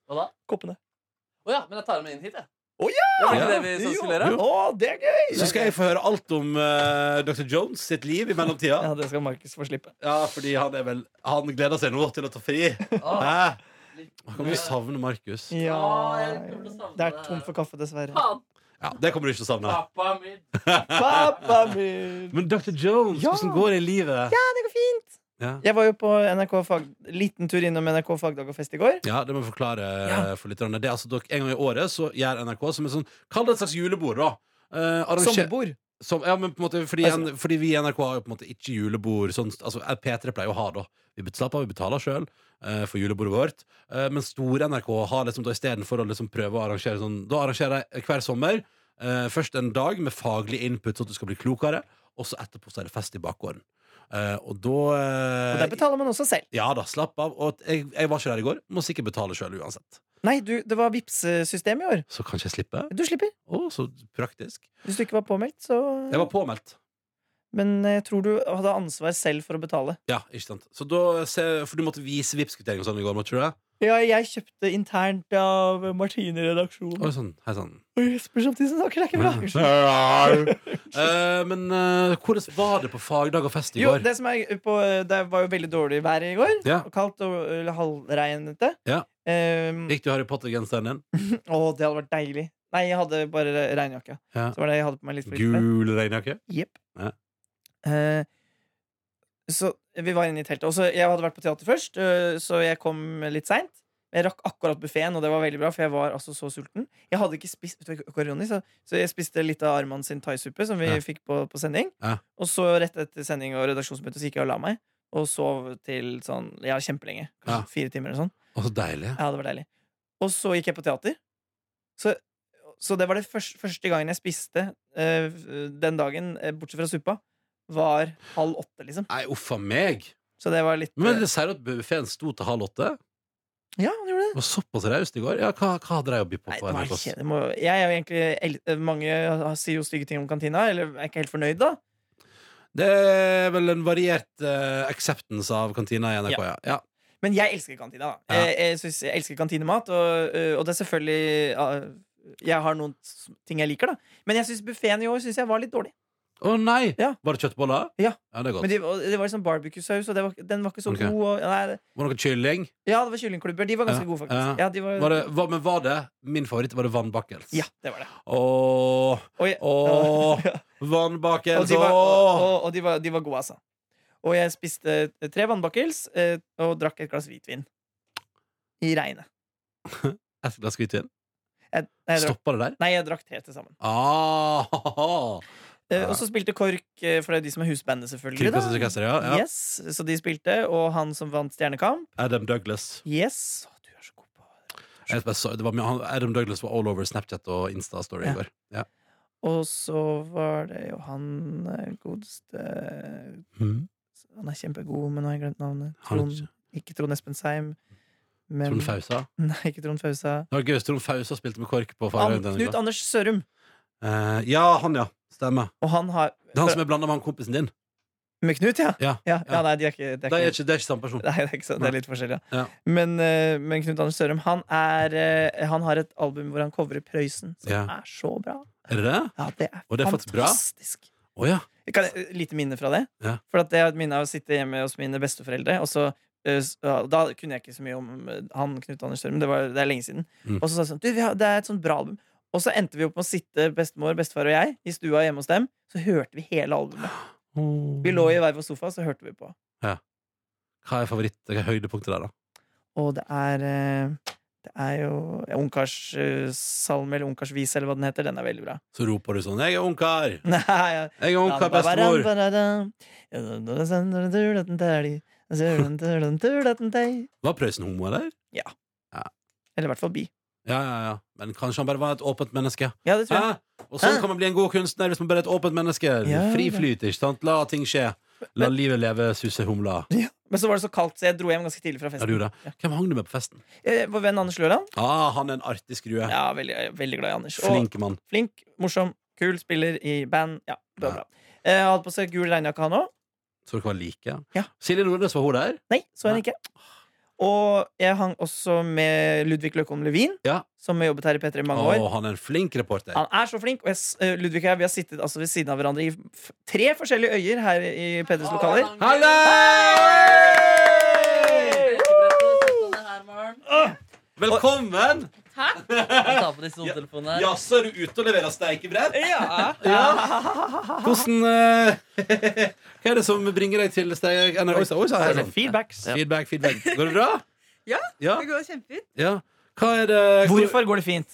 Speaker 5: Hva da?
Speaker 2: Koppene.
Speaker 5: Å ja, men jeg tar henne med inn hit, jeg.
Speaker 2: Å
Speaker 5: Det var ikke
Speaker 3: Ja.
Speaker 5: det vi sånn skulle
Speaker 2: Jo.
Speaker 5: gjøre.
Speaker 2: Å, det er gøy!
Speaker 3: Så skal jeg få høre alt om eh, Dr. Jones sitt liv i mellomtida.
Speaker 2: Ja, det skal Markus få slippe.
Speaker 3: Ja, fordi han er vel Han gleder seg nå til å ta fri.
Speaker 5: Å,
Speaker 3: Hæ? Han kommer til å savne Markus.
Speaker 5: Å,
Speaker 2: Ja
Speaker 5: jeg kommer til å savne
Speaker 2: Det er
Speaker 5: det.
Speaker 2: tom for kaffe, dessverre.
Speaker 5: faen,
Speaker 3: Ja, det kommer du ikke til å savne.
Speaker 5: pappa min.
Speaker 2: Pappa min!
Speaker 3: Men Dr. Jones,
Speaker 2: Ja.
Speaker 3: hvordan går det i livet?
Speaker 2: Ja, det går fint!
Speaker 3: Ja.
Speaker 2: Jeg var jo på NRK Fag... liten tur innom NRK Fagdag og fest i går.
Speaker 3: Ja, det må jeg forklare eh, for lytterne. Det er altså dere, En gang i året så gjør NRK som en sånn Kall det et slags julebord, da. Eh, arranger-
Speaker 2: Sommerbord. Altså-
Speaker 3: som, ja, men på en måte fordi, en, fordi vi i NRK har jo på en måte ikke julebord. Sånn, altså, P3 pleier å ha da. Vi bet- slapp av, vi betaler sjøl for julebordet vårt. Eh, men store NRK har liksom da istedenfor å liksom prøve å arrangere sånn Da arrangerer de hver sommer eh, først en dag med faglig input, så at du skal bli klokere, og så etterpå så er det fest i bakgården. Eh, og da
Speaker 2: Og
Speaker 3: eh,
Speaker 2: der betaler man også selv.
Speaker 3: Ja da, slapp av. Og at jeg, jeg var ikke der i går. Må sikkert betale sjøl uansett.
Speaker 2: Nei, du, det var Vipps-system i år.
Speaker 3: Så kanskje jeg slipper.
Speaker 2: Du slipper.
Speaker 3: Å, så praktisk.
Speaker 2: Hvis du ikke var påmeldt, så
Speaker 3: Jeg var påmeldt.
Speaker 2: Men eh, jeg tror du hadde ansvar selv for å betale.
Speaker 3: Ja, ikke sant. Så da, se- for du måtte vise Vipps-kvittering og sånn i går, måtte du det?
Speaker 2: Ja, jeg kjøpte internt av Martine-redaksjonen.
Speaker 3: Oi sann. sånn, Hei sann.
Speaker 2: Og Jesper samtidig som snakker, det er ikke bra. Unnskyld.
Speaker 3: Eh, men eh, hvordan var det på fagdag og fest i
Speaker 2: Jo,
Speaker 3: går?
Speaker 2: det, som er på, eh, det var jo veldig dårlig vær i går.
Speaker 3: Ja.
Speaker 2: Og Kaldt og eller halvregnete.
Speaker 3: Ja.
Speaker 2: Um,
Speaker 3: Gikk du i Harry Potter-genseren din?
Speaker 2: å, det hadde vært deilig. Nei, jeg hadde bare regnjakke.
Speaker 3: Ja.
Speaker 2: Så var det jeg hadde på meg litt for lite.
Speaker 3: Gul regnjakke?
Speaker 2: Jepp.
Speaker 3: Ja.
Speaker 2: Eh, så vi var inne i teltet. Og så jeg hadde vært på teater først, eh, så jeg kom litt seint. Jeg rakk akkurat buffeen, og det var veldig bra, for jeg var altså så sulten. Jeg hadde ikke spist vet du hva, koroni, så, så jeg spiste litt av Arman sin thaisuppe, som vi
Speaker 3: Ja.
Speaker 2: fikk på, på sending.
Speaker 3: Ja.
Speaker 2: Og så rett etter sending og redaksjonsmøte så gikk jeg og la meg. Og sov til sånn ja, kjempelenge. Kanskje
Speaker 3: Ja.
Speaker 2: fire timer eller sånn.
Speaker 3: Å, så deilig.
Speaker 2: Ja, det var deilig. Og så gikk jeg på teater. Så, så det var det første, første gangen jeg spiste eh, den dagen, eh, bortsett fra suppa, var halv åtte, liksom.
Speaker 3: Nei, uff a meg.
Speaker 2: Så det var litt
Speaker 3: Men
Speaker 2: eh,
Speaker 3: det sier du at buffeen sto til halv åtte?
Speaker 2: Ja, han gjorde det.
Speaker 3: Det var såpass raust i går? Ja, hva, hva hadde de å by på?
Speaker 2: Nei,
Speaker 3: på
Speaker 2: det var
Speaker 3: NRK?
Speaker 2: kjedelig. Det må- Jeg er jo egentlig el- eh, Mange har- sier jo stygge ting om kantina, eller er ikke helt fornøyd, da.
Speaker 3: Det er vel en variert eh, acceptance av kantina i NRK, ja. ja.
Speaker 2: Men jeg elsker kantina. da
Speaker 3: Ja.
Speaker 2: Jeg, jeg, synes, jeg elsker kantinemat, og, øh, og det er selvfølgelig ja, Jeg har noen s- ting jeg liker, da. Men jeg syns buffeen i år synes jeg var litt dårlig.
Speaker 3: Å nei!
Speaker 2: Ja.
Speaker 3: Var det kjøttboller?
Speaker 2: Ja.
Speaker 3: det er
Speaker 2: Men
Speaker 3: godt.
Speaker 2: det, og det var liksom barbecue-saus, og det var, den var ikke så
Speaker 3: Ok.
Speaker 2: god. Og, nei, det-
Speaker 3: Var det noe kylling?
Speaker 2: Ja, det var kyllingklubber. De var ganske
Speaker 3: Ja,
Speaker 2: gode, faktisk.
Speaker 3: ja.
Speaker 2: Ja, de var,
Speaker 3: Var det, var, men var det min favoritt? Var det Van Bakkels?
Speaker 2: ja, det var det.
Speaker 3: Åh,
Speaker 2: Og, jeg,
Speaker 3: åh,
Speaker 2: Ja.
Speaker 3: Van
Speaker 2: og,
Speaker 3: Bakkels,
Speaker 2: de, var, og,
Speaker 3: åh!
Speaker 2: og, og de, var, de var gode, altså. Og jeg spiste tre vannbakkels eh, og drakk et glass hvitvin. I regnet.
Speaker 3: Et glass hvitvin.
Speaker 2: Jeg, nei, jeg drakk,
Speaker 3: Stoppa det der?
Speaker 2: nei, jeg drakk tre til sammen.
Speaker 3: Ah,
Speaker 2: Eh,
Speaker 3: Ja.
Speaker 2: Og så spilte Kork, eh, for det er de som er husbandet, selvfølgelig.
Speaker 3: Kringkasters
Speaker 2: Da.
Speaker 3: orkester, ja. ja.
Speaker 2: Yes, så de spilte, og han som vant Stjernekamp.
Speaker 3: Adam Douglas.
Speaker 2: Yes. Å, du er så god på
Speaker 3: Jeg bare så, det var, mye- han- Adam Douglas var all over Snapchat og Insta-story
Speaker 2: Ja.
Speaker 3: i går. Ja.
Speaker 2: Og så var det jo han eh, godeste
Speaker 3: Hmm.
Speaker 2: Han er kjempegod, men nå har jeg glemt navnet.
Speaker 3: Han er
Speaker 2: Trond, ikke Trond Espen Seim. Men,
Speaker 3: Trond Fausa.
Speaker 2: Nei, ikke Trond Fausa.
Speaker 3: Det var gøy hvis Trond Fausa spilte med KORK på
Speaker 2: An,
Speaker 3: Farøy. denne
Speaker 2: Knut
Speaker 3: uka.
Speaker 2: Anders Sørum.
Speaker 3: Eh, ja, han, ja. Stemmer.
Speaker 2: Og han har
Speaker 3: Det er han som er blanda med han kompisen din.
Speaker 2: Med Knut, ja?
Speaker 3: Ja,
Speaker 2: ja,
Speaker 3: ja.
Speaker 2: nei, de er ikke, de
Speaker 3: Det er
Speaker 2: er ikke
Speaker 3: ikke, det er ikke samme person.
Speaker 2: Nei, det er ikke sant. Det er litt forskjellig, ja.
Speaker 3: Ja.
Speaker 2: Men, eh, men Knut Anders Sørum, han, er, eh, han har et album hvor han coverer Prøysen, som
Speaker 3: Ja.
Speaker 2: er så bra.
Speaker 3: Er det det?
Speaker 2: Ja, det er,
Speaker 3: Og det er faktisk bra.
Speaker 2: fantastisk.
Speaker 3: Å ja.
Speaker 2: Jeg kan, eh, lite minne fra det.
Speaker 3: Ja.
Speaker 2: For at jeg har et minne av å sitte hjemme hos mine besteforeldre. Og så, eh, s- ja, da kunne jeg ikke så mye om eh, han Knut Anders Størum. Det, var, det er lenge siden.
Speaker 3: Mm.
Speaker 2: Og så sa jeg sånn Du, vi har, det er et sånt bra album. Og så endte vi opp med å sitte bestemor, bestefar og jeg i
Speaker 3: Mm.
Speaker 2: stua hjemme hos dem. Så hørte vi hele albumet. Vi lå i hver vår sofa, så hørte vi på.
Speaker 3: Ja. Hva er favoritt, hva er høydepunktet der, da?
Speaker 2: Og det er eh, Det er jo ungkarssalme eller ungkarsvise eller hva den heter. Den er veldig bra.
Speaker 3: Så roper du sånn 'Jeg er ungkar!
Speaker 2: Nei, ja.
Speaker 3: Jeg er ungkar, bestemor!' Var Prøysen homo, eller?
Speaker 2: Eller i hvert fall bi.
Speaker 3: Ja, ja, ja. Men kanskje han bare var et åpent menneske.
Speaker 2: Ja, det tror jeg.
Speaker 3: Hæ? Og sånn
Speaker 2: Hæ?
Speaker 3: kan man bli en god kunstner hvis man bare er et åpent menneske.
Speaker 2: Ja,
Speaker 3: Fri
Speaker 2: det-
Speaker 3: flyt, ikke sant? La ting skje. La livet leve, susse humla.
Speaker 2: Men så var det så kaldt, så jeg dro hjem ganske tidlig fra
Speaker 3: Ja, du
Speaker 2: festen.
Speaker 3: gjorde det. Hvem hang du med på festen?
Speaker 2: Eh, Vår venn Anders Løland.
Speaker 3: Ah, han er en artig skrue.
Speaker 2: Ja, veldig, jeg er veldig glad i Anders. Og
Speaker 3: Flink mann.
Speaker 2: flink, morsom, kul, spiller i band. Ja, det var
Speaker 3: Ja.
Speaker 2: bra. Eh, Jeg hadde på seg gul regnjakke, han òg.
Speaker 3: Så dere var like.
Speaker 2: Ja.
Speaker 3: Silje Nordnes, var hun der?
Speaker 2: Nei, så henne ikke. Og jeg hang også med Ludvig Løkholm Levin,
Speaker 3: Ja.
Speaker 2: som har jobbet her i P3 i mange år.
Speaker 3: Å, han er en flink reporter.
Speaker 2: Han er så flink. Og jeg, s- eh, Ludvig og jeg vi har sittet altså, ved siden av hverandre i f tre forskjellige øyer her i P3s lokaler.
Speaker 3: Hei der! Åh, Velkommen!
Speaker 5: Ta på disse hodetelefonene her.
Speaker 3: Jaså, er du ute og leverer steikebrett?
Speaker 2: Ja.
Speaker 3: Hvordan eh, Hva er det som bringer deg til steik... Nei, Oi, sa- oi, sa jeg sånn.
Speaker 2: Feedbacks.
Speaker 3: Feedback, feedback. Går det bra?
Speaker 1: Ja,
Speaker 3: Ja,
Speaker 1: det går kjempefint.
Speaker 3: ja. Hva er det
Speaker 2: Hvorfor går det fint?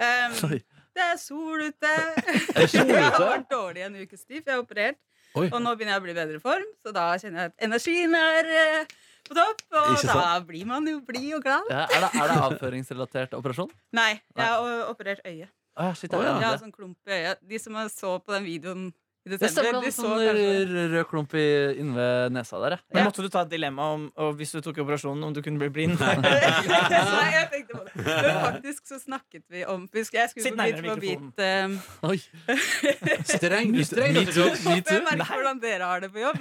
Speaker 1: Ehm,
Speaker 4: Sorry.
Speaker 1: det er sol ute.
Speaker 3: Er det sol
Speaker 1: Jeg har
Speaker 3: ute?
Speaker 1: vært dårlig en ukes tid, for jeg har operert.
Speaker 3: Oi.
Speaker 1: Og nå begynner jeg å bli i bedre form, så da kjenner jeg at energien er eh, på topp. Og
Speaker 3: Ikke sant?
Speaker 1: da blir man jo blid og glad.
Speaker 5: Ja, er, det, er det avføringsrelatert operasjon?
Speaker 1: Nei, jeg har o- operert øyet.
Speaker 5: Å ja, shit,
Speaker 3: Å,
Speaker 5: er det
Speaker 3: ja.
Speaker 1: Jeg har
Speaker 5: andre?
Speaker 1: sånn klump i øyet. De som så på den videoen i
Speaker 5: Det stemmer, det
Speaker 1: desember, de eh,
Speaker 5: er
Speaker 1: så
Speaker 5: sånn
Speaker 1: kanskje
Speaker 5: rød, rød klump i- inne ved nesa der, ja.
Speaker 2: Men Måtte du ta et dilemma om og hvis du tok operasjonen, om du kunne bli blind?
Speaker 1: Nei, jeg tenkte på det. Men faktisk så snakket vi om Jeg skulle
Speaker 2: Sitt
Speaker 1: på bit
Speaker 2: nærmere
Speaker 1: for
Speaker 2: mikrofonen.
Speaker 1: bit. ehm,
Speaker 5: Oi.
Speaker 3: Streng, streng
Speaker 5: Me too, me
Speaker 1: Håper jeg
Speaker 5: too.
Speaker 1: merker hvordan dere har det på jobb.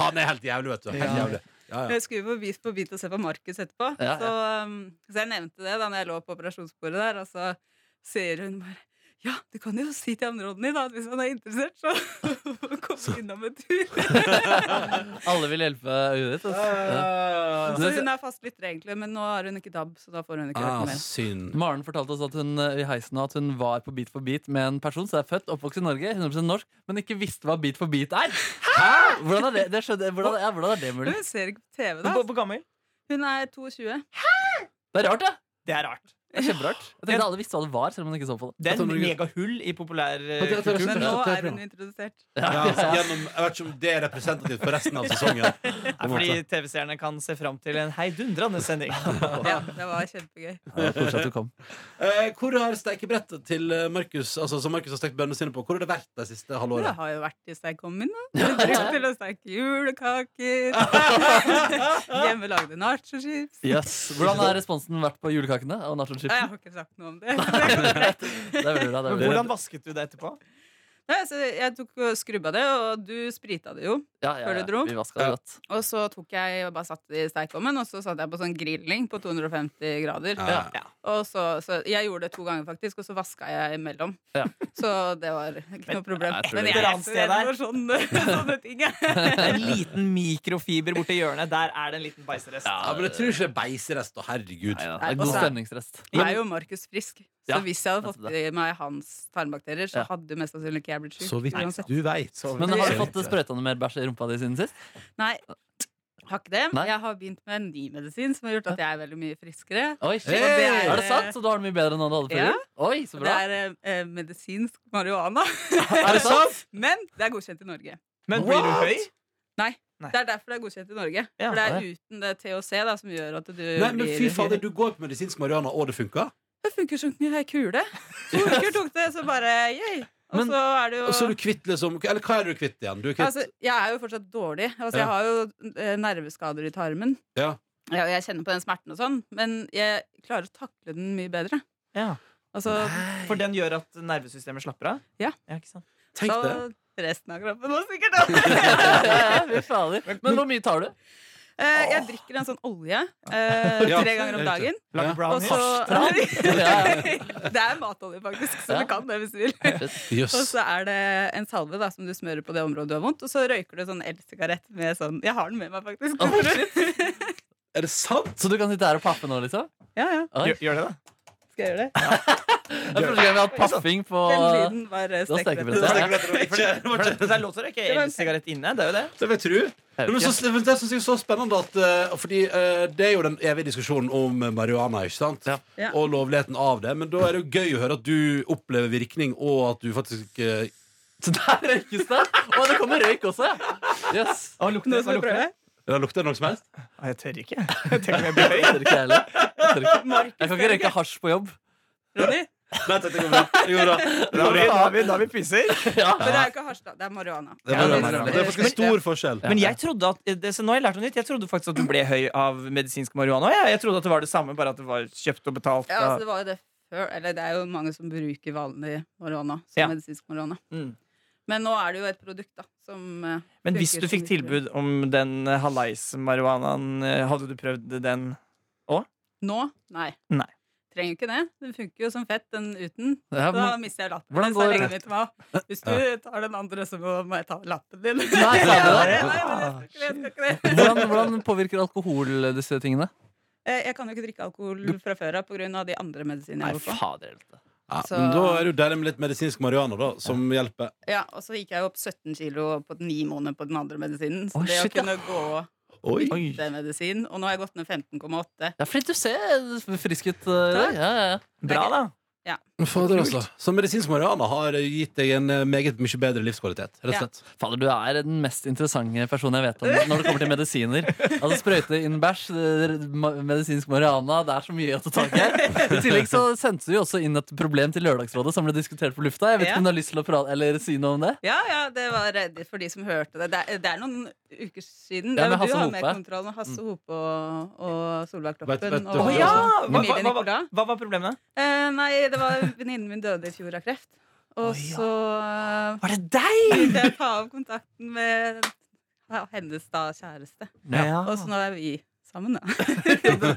Speaker 3: Han er helt jævlig, vet du. Helt
Speaker 5: Ja.
Speaker 3: jævlig. Ja, ja.
Speaker 1: Jeg skulle på Bit på bit og se på Markus etterpå.
Speaker 5: Ja, ja.
Speaker 1: Så, um, så jeg nevnte det da når jeg lå på operasjonsbordet der, og så sier hun bare ja, du kan jo si til han Rodney da, at hvis han er interessert, så kom innom en tur.
Speaker 5: Alle vil hjelpe øyet ditt. Altså. Ja.
Speaker 1: Så hun er fast lytter, egentlig, men nå har hun ikke DAB, så da får hun ikke hørt
Speaker 3: Ah,
Speaker 1: mer.
Speaker 3: synd.
Speaker 5: Maren fortalte oss at hun eh, i heisen nå at hun var på Beat for beat med en person som er født oppvokst i Norge, 100% norsk, men ikke visste hva Beat for beat er. Hæ? Hvordan er det, det, skjønner, hvordan, ja, hvordan er det mulig?
Speaker 1: Hun ser ikke på TV, da.
Speaker 2: Hvor hvor gammel?
Speaker 1: Hun er 22.
Speaker 5: Det er rart, ja.
Speaker 2: Det er rart.
Speaker 5: Det er kjemperart. Jeg tenkte alle visste hva det var, selv om man ikke så på det.
Speaker 2: Det er
Speaker 3: Jeg
Speaker 2: en
Speaker 3: tror det-
Speaker 2: megahull i populær eh,
Speaker 3: Jeg tror det-
Speaker 2: kultur.
Speaker 1: Men nå
Speaker 3: det er
Speaker 1: er
Speaker 3: bra.
Speaker 1: hun introdusert.
Speaker 3: Ja, altså, gjennom, jeg vet ikke om det er representativt for resten av sesongen. På
Speaker 2: Nei,
Speaker 3: en
Speaker 2: Fordi
Speaker 3: måte.
Speaker 2: TV-seerne kan se fram til en heidundrende sending.
Speaker 1: Ja, det var
Speaker 5: Ja,
Speaker 1: kjempegøy.
Speaker 5: det var koselig at du kom.
Speaker 3: Eh, Hvor har stekebrettet til eh, Markus altså, som Markus har stekt bønnene sine på, hvor har det vært det siste
Speaker 1: Hun
Speaker 3: halvåret?
Speaker 1: har jo vært i stekeovnen, da. Hun brukte til å steke julekaker. Hjemme lagde nachochips.
Speaker 5: Yes. Hvordan har responsen vært på julekakene og
Speaker 1: Ja, jeg
Speaker 5: nachochipsen?
Speaker 1: har ikke sagt noe om det. Nei,
Speaker 5: Det er veldig bra. Det er
Speaker 2: Men
Speaker 5: veldig bra.
Speaker 2: hvordan vasket du det etterpå?
Speaker 1: så jeg tok og skrubba det, og du sprita det jo.
Speaker 5: Ja, ja,
Speaker 1: Før du
Speaker 5: ja.
Speaker 1: dro?
Speaker 5: Vi vasket det godt.
Speaker 1: Og så tok jeg og bare satt det i steikovnen, og så satte jeg på sånn grilling på 250 grader.
Speaker 3: Ja.
Speaker 1: Og så, så Jeg gjorde det to ganger, faktisk, og så vaska jeg imellom.
Speaker 5: Ja.
Speaker 1: Så det var ikke noe problem.
Speaker 5: jeg tror
Speaker 1: Men
Speaker 5: det-
Speaker 1: jeg
Speaker 2: Et
Speaker 1: er
Speaker 2: annet
Speaker 1: ikke så
Speaker 2: sted
Speaker 1: redd for sånne, sånne ting. jeg.
Speaker 2: En liten mikrofiber borti hjørnet. Der er det en liten bæsjerest.
Speaker 3: Ja, men jeg tror ikke det er beiserest. Å, herregud.
Speaker 5: Nei, ja, det er
Speaker 1: Nei,
Speaker 5: god
Speaker 1: også-
Speaker 5: stemningsrest.
Speaker 1: Nå er jo Markus frisk, så
Speaker 5: Ja,
Speaker 1: hvis jeg hadde
Speaker 5: nettopp
Speaker 1: fått i meg hans tarmbakterier, så
Speaker 5: Ja.
Speaker 1: hadde mest sannsynlig ikke jeg blitt
Speaker 3: Så vidt
Speaker 1: sjuk. uansett.
Speaker 3: du veit.
Speaker 5: Men har du fått
Speaker 3: eh,
Speaker 5: sprøyta noe mer bæsj i rumpa di siden sist?
Speaker 1: Nei. Har ikke det.
Speaker 5: Nei.
Speaker 1: Jeg har begynt med en ny medisin som har gjort at jeg er veldig mye friskere.
Speaker 5: Oi, shit.
Speaker 1: Og det er,
Speaker 5: Er det sant? Så du har det mye bedre enn du hadde før?
Speaker 1: Ja.
Speaker 5: jul? Oi, så
Speaker 1: Det
Speaker 5: bra.
Speaker 1: er eh, eh, medisinsk marihuana.
Speaker 5: Er det sant?
Speaker 1: Men det er godkjent i Norge.
Speaker 2: Men blir du
Speaker 3: What?
Speaker 2: høy? Nei.
Speaker 1: Det er derfor det er godkjent i Norge.
Speaker 2: Ja,
Speaker 1: For det
Speaker 5: ja.
Speaker 1: er uten det THC da, som gjør at du
Speaker 3: Nei, men fy
Speaker 1: blir
Speaker 3: fader, du går på medisinsk marihuana, og det funka?
Speaker 1: Det funker som ei kule. To uker tok det, så bare yay. Og
Speaker 5: Men-
Speaker 1: så er det jo
Speaker 3: Og så er du kvitt liksom Eller hva er du kvitt igjen? Du er kvitt
Speaker 1: altså, Jeg er jo fortsatt dårlig. Altså,
Speaker 3: Ja.
Speaker 1: Jeg har jo eh, nerveskader i tarmen.
Speaker 3: Ja.
Speaker 1: Ja, og jeg kjenner på den smerten og sånn, men jeg klarer å takle den mye bedre.
Speaker 2: Ja.
Speaker 1: Altså,
Speaker 2: For den gjør at nervesystemet slapper av?
Speaker 1: Ja.
Speaker 2: ikke sant?
Speaker 3: Tenk det.
Speaker 1: Så resten av kroppen også sikkert. da.
Speaker 5: Ja, fy fader. Men hvor mye tar du?
Speaker 1: Eh, jeg drikker en sånn olje eh,
Speaker 3: Ja,
Speaker 1: tre ganger om
Speaker 3: det er
Speaker 1: dagen.
Speaker 2: Lager
Speaker 3: Ja.
Speaker 1: Og
Speaker 2: brownies?
Speaker 1: så
Speaker 5: Ja,
Speaker 1: Det er matolje, faktisk, så
Speaker 5: Ja.
Speaker 1: du kan det hvis du vil.
Speaker 3: Jøss.
Speaker 1: Og så er det en salve da, som du smører på det området du har vondt, og så røyker du sånn elsigarett med sånn Jeg har den med meg, faktisk.
Speaker 5: Oh,
Speaker 3: Er det sant?
Speaker 5: Så du kan sitte her og pappe nå, liksom?
Speaker 1: ja, ja.
Speaker 5: Oi.
Speaker 2: Gjør, gjør det, da? Skal jeg gjøre det?
Speaker 5: Det er første gang vi har hatt paffing på
Speaker 1: Den lyden var eh,
Speaker 5: Da
Speaker 1: stekte.
Speaker 5: steker vi det.
Speaker 2: For det, det er lov til å røyke
Speaker 1: var en-
Speaker 2: elsigarett inne. Det er jo det.
Speaker 3: Det vil jeg tro. Men det er så- men det synes jeg er så spennende at eh, Fordi eh, det er jo den evige diskusjonen om marihuana, ikke sant?
Speaker 5: Ja.
Speaker 1: Ja.
Speaker 3: Og lovligheten av det. Men da er det jo gøy å høre at du opplever virkning, og at du faktisk eh,
Speaker 5: Så der røykes det! Og det kommer røyk også, ja. Yes.
Speaker 1: Nå skal vi prøve.
Speaker 3: Ja, Lukter det noe som helst?
Speaker 2: Nei, jeg tør ikke. Jeg tenker meg
Speaker 5: Jeg tør ikke, jeg heller. Jeg tør ikke.
Speaker 1: Markus,
Speaker 5: Jeg kan ikke røyke hasj på jobb.
Speaker 1: Ronny.
Speaker 3: Nei, det går bra. Det går bra. Det
Speaker 2: Da
Speaker 3: går bra.
Speaker 2: er vi, da er vi pisser.
Speaker 1: Men det er jo ikke hasj, da. Det er marihuana.
Speaker 3: Det
Speaker 2: Ja,
Speaker 3: var-
Speaker 2: det er bra.
Speaker 3: det er faktisk en stor forskjell.
Speaker 2: Men jeg trodde at det, så nå har jeg lært noe nytt. Jeg trodde faktisk at du ble høy av medisinsk marihuana. Ja, jeg trodde at det var det samme, bare at det var kjøpt og betalt.
Speaker 1: Ja,
Speaker 2: av-
Speaker 1: altså, det var jo det før. Eller det er jo mange som bruker vanlig marihuana som
Speaker 2: Ja.
Speaker 1: medisinsk marihuana.
Speaker 2: Mm.
Speaker 1: Men nå er det jo et produkt, da, som eh,
Speaker 2: Men hvis
Speaker 1: funker
Speaker 2: du
Speaker 1: som
Speaker 2: fikk
Speaker 1: virkemiddel.
Speaker 2: tilbud om den eh, halais-marihuanaen, eh, hadde du prøvd den?
Speaker 1: Nå? Nei.
Speaker 2: Nei.
Speaker 1: Trenger ikke det. Den funker jo som fett, den uten.
Speaker 5: Ja,
Speaker 1: Da
Speaker 5: men,
Speaker 1: mister jeg lappen.
Speaker 5: Hvordan
Speaker 1: Så
Speaker 5: går-
Speaker 1: lenge mitt var, Hvis du tar den andre, så må må jeg ta lappen din.
Speaker 5: sa du det?
Speaker 1: Ja, nei, men jeg skal ikke det, jeg skal ikke det.
Speaker 5: hvordan, hvordan påvirker alkohol disse tingene?
Speaker 1: Eh, Jeg kan jo ikke drikke alkohol fra før av pga. de andre medisinene
Speaker 5: Nei,
Speaker 1: jeg går på.
Speaker 5: fader helte.
Speaker 3: Ja,
Speaker 1: Så-
Speaker 3: men da er det jo deilig med litt medisinsk marihuana, da, som hjelper.
Speaker 1: Ja, og så gikk jeg opp 17 kilo på den ni måneder på den andre medisinen. Så
Speaker 5: Oi,
Speaker 1: det
Speaker 5: shit,
Speaker 1: å kunne gå
Speaker 3: Oi.
Speaker 5: Oi.
Speaker 1: den medisinen Og nå har jeg gått ned 15,8.
Speaker 5: Det er fordi du ser frisk ut. eh,
Speaker 1: Takk.
Speaker 5: Ja, ja, ja.
Speaker 2: Bra, da.
Speaker 3: Men Fader, altså. Så medisinsk marihuana har gitt deg en eh, meget mye bedre livskvalitet. Rett og
Speaker 1: Ja.
Speaker 3: slett.
Speaker 5: Fader, du er den mest interessante personen jeg vet om når det kommer til medisiner. Altså Sprøyte inn bæsj, det er ma- medisinsk marihuana, det er så mye å ta tak i her. I tillegg så sendte du jo også inn et problem til Lørdagsrådet som ble diskutert på lufta. Jeg vet
Speaker 1: Ja.
Speaker 5: ikke om du har lyst til å prate, eller si noe om det?
Speaker 1: Ja, ja, det var eh, for de som hørte det. Det er, det er noen uker siden.
Speaker 5: Ja,
Speaker 1: Det er
Speaker 5: med
Speaker 1: jo du
Speaker 5: Hasse
Speaker 1: har mer
Speaker 5: Hope. Mm.
Speaker 1: kontroll med Hasse Hope og, og Solveig
Speaker 3: Vet- vet
Speaker 1: Kloppen.
Speaker 3: du
Speaker 1: Og,
Speaker 2: Å
Speaker 3: hva-
Speaker 2: ja! Hva, hva,
Speaker 1: Emilie
Speaker 2: hva, hva,
Speaker 1: Nicolas.
Speaker 2: hva var problemet?
Speaker 1: Eh, nei, det var venninnen min døde i fjor av kreft. Og så eh,
Speaker 2: Var det deg?
Speaker 1: ville jeg ta av kontakten med ja, hennes da kjæreste.
Speaker 5: Ja.
Speaker 2: altså,
Speaker 1: Og så nå er vi sammen, da.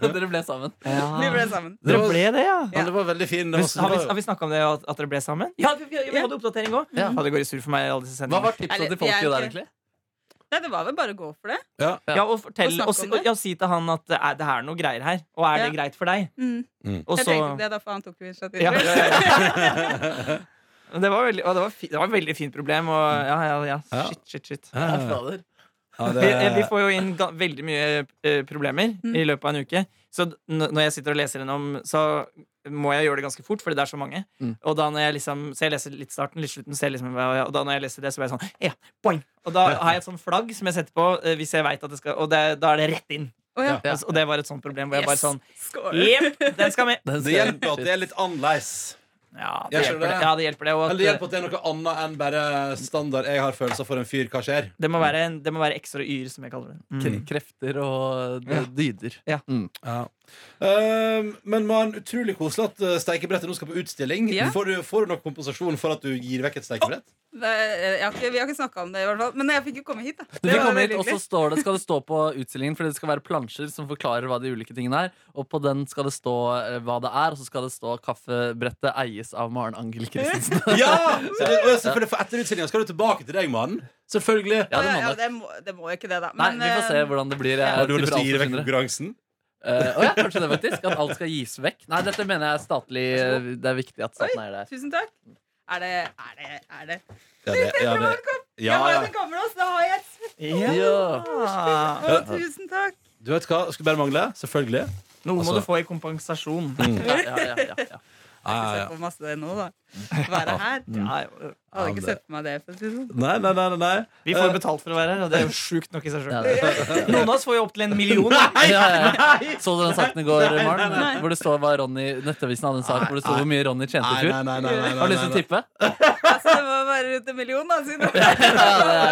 Speaker 5: Dere ble sammen.
Speaker 1: Vi ble sammen.
Speaker 3: Det
Speaker 2: Dere
Speaker 3: var,
Speaker 2: ble det, ja.
Speaker 3: ja, det var veldig fin. Det
Speaker 2: Men,
Speaker 3: var,
Speaker 2: har vi, har vi snakka om det, at, at dere ble sammen? Ja, vi, vi, vi hadde oppdatering òg.
Speaker 5: Ja.
Speaker 2: Det går i surr for meg. alle disse
Speaker 5: Hva
Speaker 2: sendingene
Speaker 5: var tipsa
Speaker 1: Eller,
Speaker 5: til folket
Speaker 1: jeg er
Speaker 5: der,
Speaker 1: ikke-
Speaker 5: egentlig?
Speaker 1: Nei, det var vel bare å gå for det.
Speaker 2: ja. og, fortell,
Speaker 1: Og
Speaker 2: og,
Speaker 1: snakke
Speaker 2: si-
Speaker 1: om det.
Speaker 2: og, ja, si til han at det er, det her er noe greier her. Og er det
Speaker 1: Ja.
Speaker 2: greit for deg?
Speaker 5: Mm.
Speaker 2: Og
Speaker 1: Jeg
Speaker 2: så
Speaker 1: tenkte ikke det, da, for han tok jo initiativet.
Speaker 2: ja, ja, ja, ja. Det var veldig, og det var, fi, det var et veldig fint problem. Og ja, ja, ja.
Speaker 3: Ja.
Speaker 2: Shit, shit, shit.
Speaker 5: Ja,
Speaker 3: ja,
Speaker 5: fader.
Speaker 3: ja,
Speaker 2: Vi, eh, vi
Speaker 3: det,
Speaker 2: får jo inn ga- veldig mye eh, problemer i løpet av en uke. Så d- n- når jeg sitter og leser gjennom, så må jeg gjøre det ganske fort, fordi det er så mange.
Speaker 5: Mm.
Speaker 2: Og da når jeg liksom, Så jeg leser litt starten, litt slutten, ser liksom, hva- og da når jeg leser det, så blir jeg sånn ja, boing! Og da har jeg et sånt flagg som jeg setter på eh, hvis jeg vet at det skal Og det, da er det rett inn.
Speaker 1: Å, ja.
Speaker 5: Ja.
Speaker 2: Og, s- og det var et sånt problem hvor jeg bare
Speaker 1: Yes.
Speaker 2: sånn
Speaker 1: Skål.
Speaker 2: Jepp, den skal med!
Speaker 5: Den
Speaker 3: det
Speaker 5: ser-
Speaker 3: hjelper at det er litt annerledes.
Speaker 2: Ja, det
Speaker 3: Jeg
Speaker 2: hjelper
Speaker 3: skjønner
Speaker 2: det.
Speaker 3: det.
Speaker 2: Ja, det, hjelper det. Og
Speaker 3: Eller det hjelper
Speaker 2: at, eh,
Speaker 3: at det er noe annet enn bare standard 'jeg har følelser for en fyr', hva skjer?
Speaker 2: det, må være, en- det må være ekstra yr, som jeg kaller det. Mm.
Speaker 5: Kre- Krefter og d- dyder.
Speaker 2: Ja.
Speaker 5: Mm.
Speaker 3: Ehm, men man, utrolig koselig at eh, steikebrettet nå skal på utstilling.
Speaker 1: Ja.
Speaker 3: Får, du, får du nok kompensasjon for at du gir vekk et steikebrett?
Speaker 1: Det, jeg har ikke, vi har ikke snakka om det, i hvert fall. Men jeg fikk jo komme hit, da.
Speaker 5: Du fikk
Speaker 1: Det var
Speaker 5: komme hit,
Speaker 1: veldig
Speaker 5: og så
Speaker 1: hyggelig.
Speaker 5: står det, skal det stå på utstillingen, Fordi det skal være plansjer som forklarer hva de ulike tingene er. Og på den skal det stå eh, hva det er, og så skal det stå 'Kaffebrettet eies av Maren Angel Christensen'.
Speaker 3: Ja! Så det, og jeg- selvfølgelig, for etter utstillinga skal du tilbake til deg, mannen. Selvfølgelig.
Speaker 5: Ja, det
Speaker 1: Å,
Speaker 5: må
Speaker 1: ja,
Speaker 5: nok.
Speaker 1: det, må, det må jo ikke det, da.
Speaker 5: Nei,
Speaker 1: Men,
Speaker 5: vi får se
Speaker 1: eh,
Speaker 5: hvordan det blir.
Speaker 3: Har
Speaker 5: Jeg
Speaker 3: du lyst
Speaker 5: tipper
Speaker 3: til å
Speaker 5: alt
Speaker 3: gi vekk
Speaker 5: forsvinner.
Speaker 3: konkurransen?
Speaker 5: Eh, å ja, kanskje det, faktisk. At alt skal gis vekk. Nei, dette mener jeg er statlig. eh, Det er viktig at staten eier det.
Speaker 1: Tusen takk. Er det Er det, er det.
Speaker 3: Ja, det, ja, det.
Speaker 1: Ja,
Speaker 3: Ja,
Speaker 1: det
Speaker 3: ja.
Speaker 1: kommer oss! Da har jeg et
Speaker 5: Ja.
Speaker 2: Ja.
Speaker 1: Å, Tusen takk.
Speaker 3: Du vet hva, skulle bare mangle. Selvfølgelig.
Speaker 2: Noe må
Speaker 3: Altså-
Speaker 2: du få i kompensasjon.
Speaker 5: Ja, ja, ja, ja, ja.
Speaker 3: Ja, ja,
Speaker 1: Se
Speaker 3: ja.
Speaker 1: på masse nå, da. Være her. Jeg
Speaker 2: Ja, jo.
Speaker 1: hadde ikke sett på meg det. For å si det sånn.
Speaker 3: Nei, nei, nei. nei, nei.
Speaker 2: Vi får betalt for å være her, og det er jo sjukt nok i seg
Speaker 5: Ja,
Speaker 2: sjøl.
Speaker 5: det.
Speaker 2: Noen av oss får jo opptil en million. da.
Speaker 5: Ja, ja, ja. Så du den saken i går, Maren? Hvor det står hva Ronny Nettavisen hadde en sak hvor det sto hvor mye Ronny tjente i fjor?
Speaker 3: nei, nei, nei,
Speaker 5: Har du lyst til å tippe?
Speaker 1: Altså, det må være rundt en million, da. Siden
Speaker 5: Ja, det er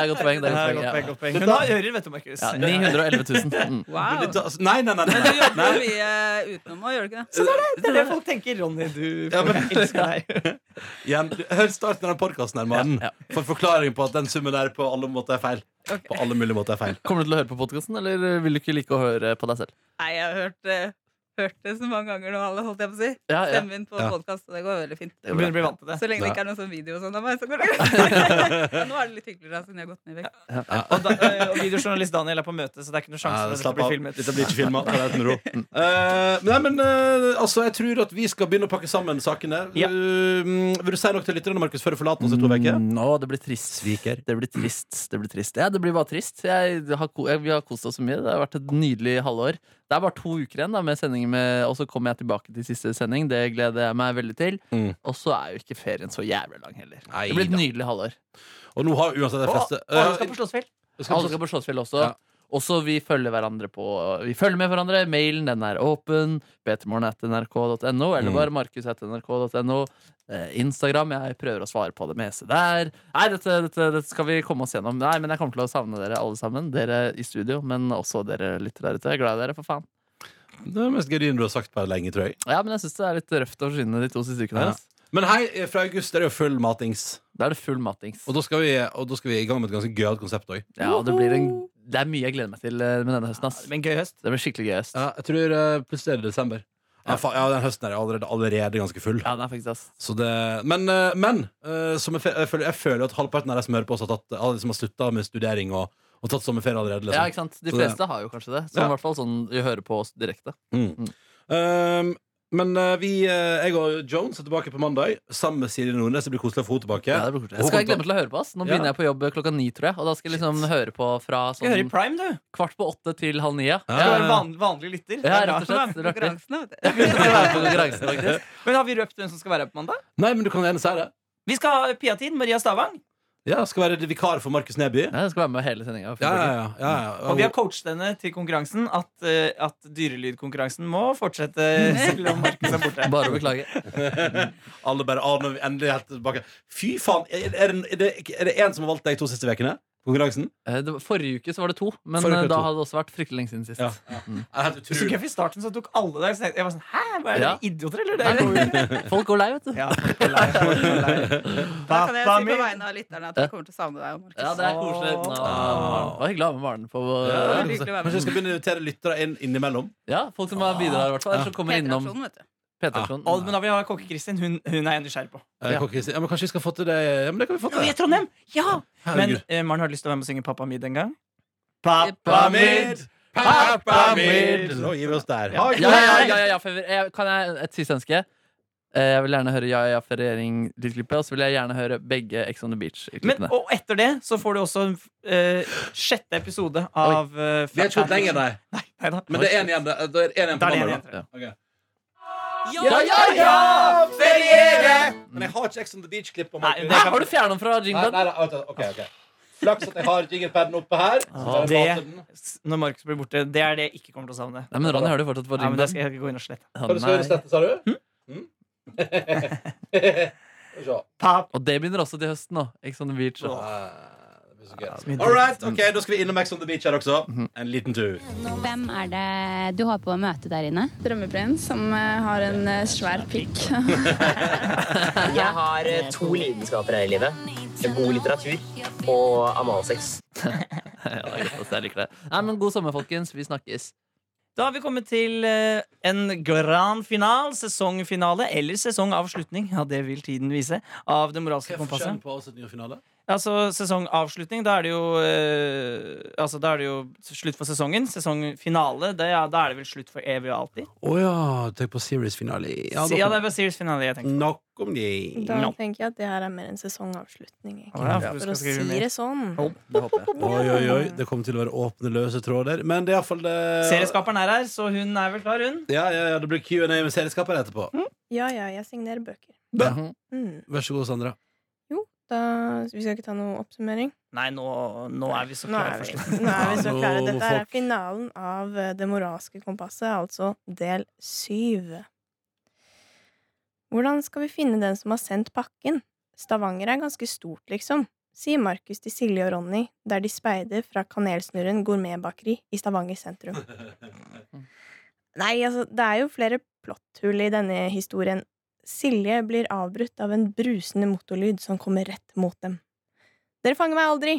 Speaker 5: et godt poeng. Det
Speaker 2: Det er
Speaker 5: er et godt poeng
Speaker 2: godt poeng,
Speaker 5: ja.
Speaker 2: godt poeng. Hun har ører, vet du, Markus.
Speaker 5: Ja, 911 000. Mm.
Speaker 1: Wow.
Speaker 3: Dette- altså, Nei, nei, nei. nei, nei.
Speaker 1: Jobber mye utenom òg, gjør du ikke det?
Speaker 2: Det er det folk tenker. Ronny, du
Speaker 3: Ja, men-
Speaker 2: jeg elsker deg.
Speaker 3: Igjen, du- Hør starten av den podkasten her, mannen.
Speaker 5: Ja,
Speaker 3: For forklaring på at den summen der på alle måter er feil.
Speaker 1: Ok.
Speaker 3: På alle mulige måter er feil.
Speaker 5: Kommer du til å høre på podkasten, eller vil du ikke like å høre på deg selv?
Speaker 1: Nei, jeg har hørt, eh, hørt det så mange ganger nå, alle, holdt jeg på å si.
Speaker 5: Ja, ja.
Speaker 1: Stemmen min på
Speaker 3: Ja.
Speaker 1: podkast, og det går veldig fint.
Speaker 2: Du begynner å bli vant til det.
Speaker 1: Så lenge det
Speaker 3: Ja.
Speaker 1: ikke er noen sånn video og sånn av meg, så går det greit. Ja, nå er det litt hyggeligere da, siden jeg har gått ned i vekt.
Speaker 2: Og, da, og videojournalist Daniel er på møte, så det er ikke noen sjanse for at det skal
Speaker 3: Slapp av.
Speaker 2: bli filmet.
Speaker 3: Dette blir ikke filma. Ta deg med ro. Eh, nei, men eh, altså, jeg tror at vi skal begynne å pakke sammen sakene.
Speaker 2: Ja.
Speaker 3: Uh, vil du si noe til lytterne, Markus, før du forlater oss i to uker?
Speaker 5: Mm, å, det blir trist.
Speaker 3: Sviker.
Speaker 5: Det blir trist. Det blir trist. Ja, det blir bare trist. Jeg har, ko- jeg, vi har kost oss så mye. Det har vært et nydelig halvår. Det er bare to uker igjen, da, med sendinger med, og så kommer jeg tilbake til siste sending. Det gleder jeg meg veldig til.
Speaker 3: Mm.
Speaker 5: Og så er jo ikke ferien så jævlig lang heller.
Speaker 3: Nei
Speaker 5: det blir et
Speaker 3: da.
Speaker 5: nydelig halvår.
Speaker 3: Og nå har uansett de
Speaker 2: Og
Speaker 3: fleste
Speaker 2: alle skal på slåssfjell.
Speaker 3: Eh, skal
Speaker 5: Alle
Speaker 3: på-
Speaker 5: skal på Slottsfjell også.
Speaker 3: Ja.
Speaker 5: Også vi følger hverandre på Vi følger med hverandre. Mailen den er åpen. Bettermorgen.nrk.no, eller
Speaker 3: Mm.
Speaker 5: bare markus.nrk.no. Eh, Instagram. Jeg prøver å svare på det meste der. Nei, dette, dette, dette skal vi komme oss gjennom. Nei, men jeg kommer til å savne dere alle sammen. Dere i studio, men også dere lyttere der ute. Jeg er Glad i dere, for faen.
Speaker 3: Det er det mest genuine du har sagt på lenge, tror jeg.
Speaker 5: Ja, men jeg syns det er litt røft å skinne de to siste ukene.
Speaker 3: Ja.
Speaker 5: Ja.
Speaker 3: Men hei, eh, fra august er det jo full matings.
Speaker 5: Da er det full matings.
Speaker 3: Og da skal vi, og da skal vi i gang med et ganske gøyalt konsept òg.
Speaker 5: Ja, og det, blir en, det er mye jeg gleder meg til eh, med denne høsten. Ass.
Speaker 2: Men gøy høst.
Speaker 5: Det blir skikkelig gøyest.
Speaker 3: Ja, jeg tror eh, plutselig er det desember. Ja, fa ja, den høsten er allerede, allerede ganske full.
Speaker 5: Ja, det er faktisk ass.
Speaker 3: Så det, men eh, men eh, som jeg, fe- jeg, føler, jeg føler jo at halvparten av de som hører på oss, har, tatt- har, liksom har slutta med studering og, og tatt sommerferie allerede.
Speaker 5: Ja,
Speaker 3: Liksom.
Speaker 5: ikke sant? De
Speaker 3: Så det-
Speaker 5: fleste har jo kanskje det. Som
Speaker 3: Ja.
Speaker 5: i hvert fall sånn de hører på oss direkte.
Speaker 3: Mm. Um, men eh, vi, eh, jeg og Jones er tilbake på mandag sammen med Siri Nordnes. Det blir koselig å få henne tilbake.
Speaker 5: Ja, det blir koselig. jeg skal jeg glemme til å høre på oss. Nå
Speaker 3: Ja.
Speaker 5: begynner jeg på jobb klokka ni, tror jeg. Og da skal jeg liksom høre på fra
Speaker 2: Skal høre i
Speaker 5: sånn
Speaker 2: Prime, du.
Speaker 5: kvart på åtte til halv ni. Ja,
Speaker 3: Ja,
Speaker 2: Skal
Speaker 3: ja,
Speaker 2: være
Speaker 3: ja.
Speaker 2: van, vanlig
Speaker 5: ja
Speaker 2: lytter. Det er bra.
Speaker 5: rett og slett. Det er artig.
Speaker 1: Konkurransene, vet du.
Speaker 5: Jeg skal være på konkurransen, faktisk.
Speaker 2: Men har vi røpt hvem som skal være her på mandag?
Speaker 3: Nei, men du kan gjerne si det.
Speaker 2: Vi skal ha Piatin, Maria Stavang.
Speaker 3: Ja, skal være vikar for Markus Neby.
Speaker 5: Ja, jeg skal være med hele sendinga.
Speaker 3: Ja, ja, ja, ja,
Speaker 2: Og vi
Speaker 3: ja.
Speaker 2: har coachet henne til konkurransen at, eh, at dyrelydkonkurransen må fortsette selv om Markus er borte.
Speaker 5: Bare å beklage.
Speaker 3: Alle bare «Å, nå er vi endelig helt tilbake. Fy faen! Er, er, det- er, det, er det en som har valgt deg to siste ukene? Konkurransen?
Speaker 5: Eh, det var- Forrige uke så var det to, men
Speaker 3: Forrige uke
Speaker 5: eh, da
Speaker 3: to.
Speaker 5: hadde det også vært fryktelig lenge siden sist.
Speaker 3: Ja. Det er helt
Speaker 2: Så
Speaker 3: utrolig.
Speaker 2: gøy, for I starten så tok alle deg så tenkte jeg- Jeg var sånn Hæ, hva er
Speaker 5: Ja.
Speaker 2: dere idioter, eller? Det er jo
Speaker 5: Folk går lei, vet du.
Speaker 2: Ja, folk er lei, folk er lei.
Speaker 1: Da kan jeg
Speaker 2: Pappa
Speaker 1: si på
Speaker 2: min.
Speaker 1: vegne av lytterne at vi kommer til å savne deg, Markus.
Speaker 5: Ja, det er koselig. Nå,
Speaker 3: Ah.
Speaker 5: det var hyggelig å ha med Maren på
Speaker 1: Ja,
Speaker 3: Kanskje
Speaker 1: hyggelig å være med.
Speaker 3: jeg skal begynne å invitere lyttere inn innimellom.
Speaker 5: Ja, folk som bidrar, i hvert fall. Eller som kommer innom
Speaker 1: P3-aksjonen, vet du.
Speaker 5: P3-aksjonen.
Speaker 2: Og, men da vil jeg ha kokke Kristin. Hun, hun er jeg nysgjerrig på.
Speaker 3: Eh,
Speaker 5: Ja.
Speaker 3: kan ikke si- Ja, men kanskje vi skal få til det? Ja, men det kan vi få til.
Speaker 2: Jo, i Trondheim! Ja! Men
Speaker 3: Herregud.
Speaker 2: eh, Maren har du lyst til å være med og synge Pappa Mid en gang.
Speaker 5: Pappa Mid! Pappa Mid!
Speaker 3: Nå gir vi oss der.
Speaker 2: Ja.
Speaker 3: Ha det!
Speaker 5: Ja, ja, ja, ja, ja, for jeg- jeg, Kan jeg et siste ønske? Eh, Jeg vil gjerne høre Ja, ja, for regjering litt klippet Og så vil jeg gjerne høre begge Ex on the
Speaker 2: Men,
Speaker 5: Beach-klippene
Speaker 2: og etter det så får du også eh, sjette episode av eh,
Speaker 3: Vi er ikke gått lenger, nei.
Speaker 2: Neida.
Speaker 3: Men det er en igjen. Det det er en igjen
Speaker 2: Da
Speaker 3: på
Speaker 2: er det en
Speaker 3: mandag.
Speaker 5: igjen,
Speaker 3: da. Ok.
Speaker 5: Ja, ja, ja!
Speaker 2: Feriere!
Speaker 3: Men jeg har ikke Ex on the Beach-klipp.
Speaker 2: Nei,
Speaker 5: Hæ, Har du fjernet den fra
Speaker 3: Nei,
Speaker 5: jinglen?
Speaker 3: nei, nei, vent, ok, ok Flaks at jeg har jinglepaden oppe her. Så
Speaker 2: det-
Speaker 3: jeg mater den.
Speaker 2: Når Markus blir borte. Det er det jeg ikke kommer til å savne.
Speaker 5: Nei, men Ronny hører det fortsatt på
Speaker 2: Ja, men det
Speaker 5: jinglen
Speaker 2: skal jeg gå inn og slette.
Speaker 5: Å,
Speaker 3: Hva du skal
Speaker 5: nei.
Speaker 3: gjøre dette, sa du? Mm? Skal vi se.
Speaker 2: Pap.
Speaker 5: Og det begynner også til høsten nå Ex on the Beach
Speaker 2: Åh.
Speaker 3: Ah, det blir så gøy.
Speaker 2: men-
Speaker 3: All right, ok, da skal vi innom Ex on the Beach her også. En liten tur.
Speaker 6: Hvem er det du har på møte der inne?
Speaker 7: Drømmeprins som eh, har en eh, svær pikk.
Speaker 8: Jeg har eh, to lidenskaper her i livet. God litteratur og analsex.
Speaker 5: ja, det er godt, ass, jeg liker det Nei, men god sommer, folkens Vi snakkes
Speaker 2: Da har vi kommet til eh, en grand final, sesongfinale eller sesongavslutning. Ja, det vil tiden vise. Av det moralske kompasset. Altså sesongavslutning, da er det jo eh, Altså, da er det jo slutt for sesongen. Sesongfinale, det, ja, da er det vel slutt for evig og alltid.
Speaker 3: Å ja, tenk på series-finale.
Speaker 2: Ja, det er bare series finale jeg tenkte.
Speaker 3: Nok om det.
Speaker 7: Da
Speaker 2: No.
Speaker 7: tenker jeg at det her er mer en sesongavslutning. egentlig.
Speaker 2: Å, ja, for du
Speaker 7: For
Speaker 2: skal
Speaker 7: å si
Speaker 2: skrive mer.
Speaker 7: det sånn.
Speaker 5: Det håper jeg
Speaker 3: Oi, oi, oi. Det kommer til å være åpne, løse tråder. Men det er iallfall det
Speaker 2: Serieskaperen er her, så hun er vel klar, hun.
Speaker 3: Ja, ja, ja, det blir Q&A med serieskaper etterpå.
Speaker 7: Ja, ja, jeg signerer bøker.
Speaker 5: Mhm.
Speaker 7: Mm.
Speaker 3: Vær så god, Sandra.
Speaker 7: Da, vi skal ikke ta noe oppsummering?
Speaker 2: Nei, nå, nå er vi så
Speaker 7: Nå
Speaker 2: klare
Speaker 7: er
Speaker 2: for
Speaker 7: vi,
Speaker 2: slutt.
Speaker 7: nå er vi så
Speaker 3: Ja, nå
Speaker 7: klare.
Speaker 3: må
Speaker 7: Dette er
Speaker 3: folk-
Speaker 7: finalen av eh, Det moralske kompasset, altså del syv. Hvordan skal vi finne den som har sendt pakken? Stavanger er ganske stort, liksom, sier Markus til Silje og Ronny, der de speider fra Kanelsnurren gourmetbakeri i Stavanger sentrum. Nei, altså, det er jo flere plotthull i denne historien. Silje blir avbrutt av en brusende motorlyd som kommer rett mot dem. Dere fanger meg aldri!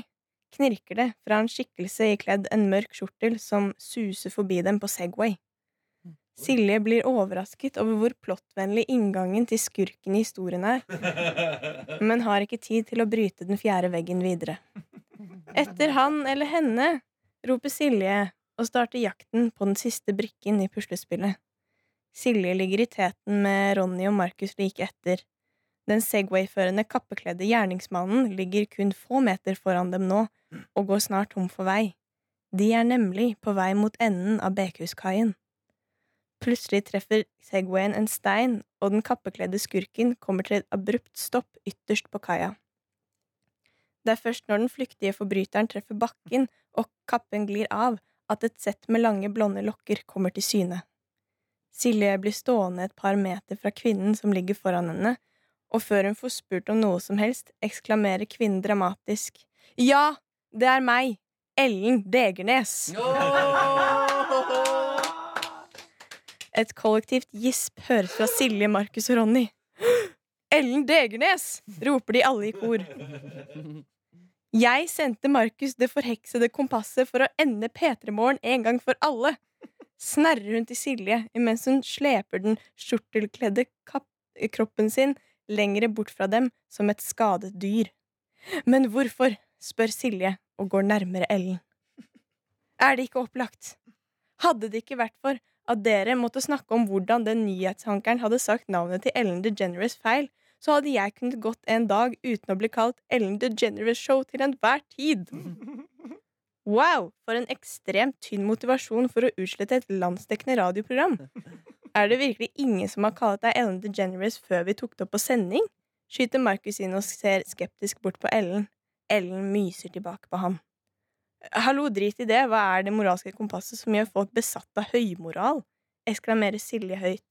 Speaker 7: knirker det fra en skikkelse ikledd en mørk skjortel som suser forbi dem på Segway. Silje blir overrasket over hvor plottvennlig inngangen til skurken i historien er, men har ikke tid til å bryte den fjerde veggen videre. Etter han eller henne roper Silje og starter jakten på den siste brikken i puslespillet. Silje ligger i teten med Ronny og Markus like etter. Den Segway-førende kappekledde gjerningsmannen ligger kun få meter foran dem nå og går snart tom for vei. De er nemlig på vei mot enden av Bekhuskaien. Plutselig treffer Segwayen en stein, og den kappekledde skurken kommer til et abrupt stopp ytterst på kaia. Det er først når den flyktige forbryteren treffer bakken og kappen glir av, at et sett med lange, blonde lokker kommer til syne. Silje blir stående et par meter fra kvinnen som ligger foran henne, og før hun får spurt om noe som helst, ekklamerer kvinnen dramatisk Ja, det er meg! Ellen Degernes! Et kollektivt gisp høres fra Silje, Markus og Ronny. Ellen Degernes! roper de alle i kor. Jeg sendte Markus det forheksede kompasset for å ende P3-morgen en gang for alle. Snerrer hun til Silje imens hun sleper den skjortelkledde kapp- kroppen sin lengre bort fra dem som et skadet dyr. Men hvorfor? spør Silje og går nærmere Ellen. Er det ikke opplagt? Hadde det ikke vært for at dere måtte snakke om hvordan den nyhetsankeren hadde sagt navnet til Ellen DeGeneres feil, så hadde jeg kunnet gått en dag uten å bli kalt Ellen DeGeneres Show til enhver tid. Wow, for en ekstremt tynn motivasjon for å utslette et landsdekkende radioprogram. Er det virkelig ingen som har kalt deg Ellen DeGeneres før vi tok det opp på sending? Skyter Markus inn og ser skeptisk bort på Ellen. Ellen myser tilbake på ham. Hallo, drit i det, hva er det moralske kompasset som gjør folk besatt av høymoral? eksklamerer Silje høyt.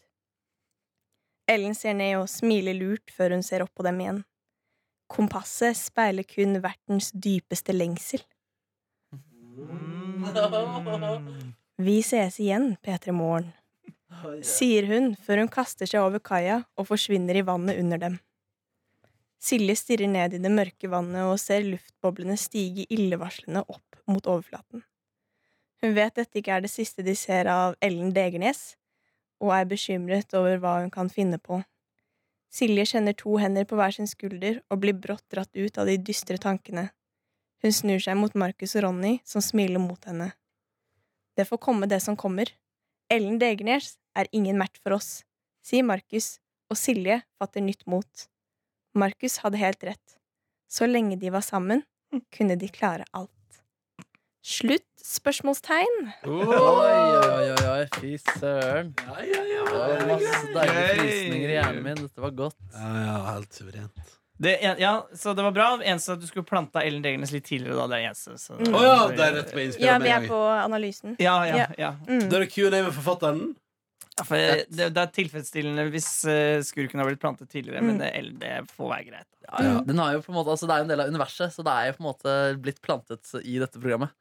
Speaker 7: Ellen ser ned og smiler lurt før hun ser opp på dem igjen. Kompasset speiler kun vertens dypeste lengsel. Vi sees igjen, P3 Morgen, sier hun før hun kaster seg over kaia og forsvinner i vannet under dem. Silje stirrer ned i det mørke vannet og ser luftboblene stige illevarslende opp mot overflaten. Hun vet dette ikke er det siste de ser av Ellen Degernes, og er bekymret over hva hun kan finne på. Silje kjenner to hender på hver sin skulder og blir brått dratt ut av de dystre tankene. Hun snur seg mot Markus og Ronny, som smiler mot henne. Det får komme det som kommer. Ellen Degernes er ingen match for oss, sier Markus, og Silje fatter nytt mot. Markus hadde helt rett. Så lenge de var sammen, kunne de klare alt. Slutt? Spørsmålstegn.
Speaker 5: Oi, oi, oi, oi, fy søren. Det var masse deilige frysninger i hjernen min. Dette var godt.
Speaker 3: Ja, ja, helt suverent.
Speaker 2: Det, en- ja, så det var bra. Eneste at du skulle planta Ellen Degernes litt tidligere. Da, det er det eneste. Så.
Speaker 3: Å ja, det er rett med innspill.
Speaker 7: Ja, vi er på analysen. Mm.
Speaker 2: Ja, ja, ja.
Speaker 3: Da er det Q&A med forfatteren.
Speaker 2: Ja, for jeg- det, det er tilfredsstillende hvis eh, skurken har blitt plantet tidligere,
Speaker 7: Mm.
Speaker 2: men det, eller det får være greit.
Speaker 5: Ja, ja. Den har jo på en måte, altså Det er jo en del av universet, så det er jo på en måte blitt plantet i dette programmet.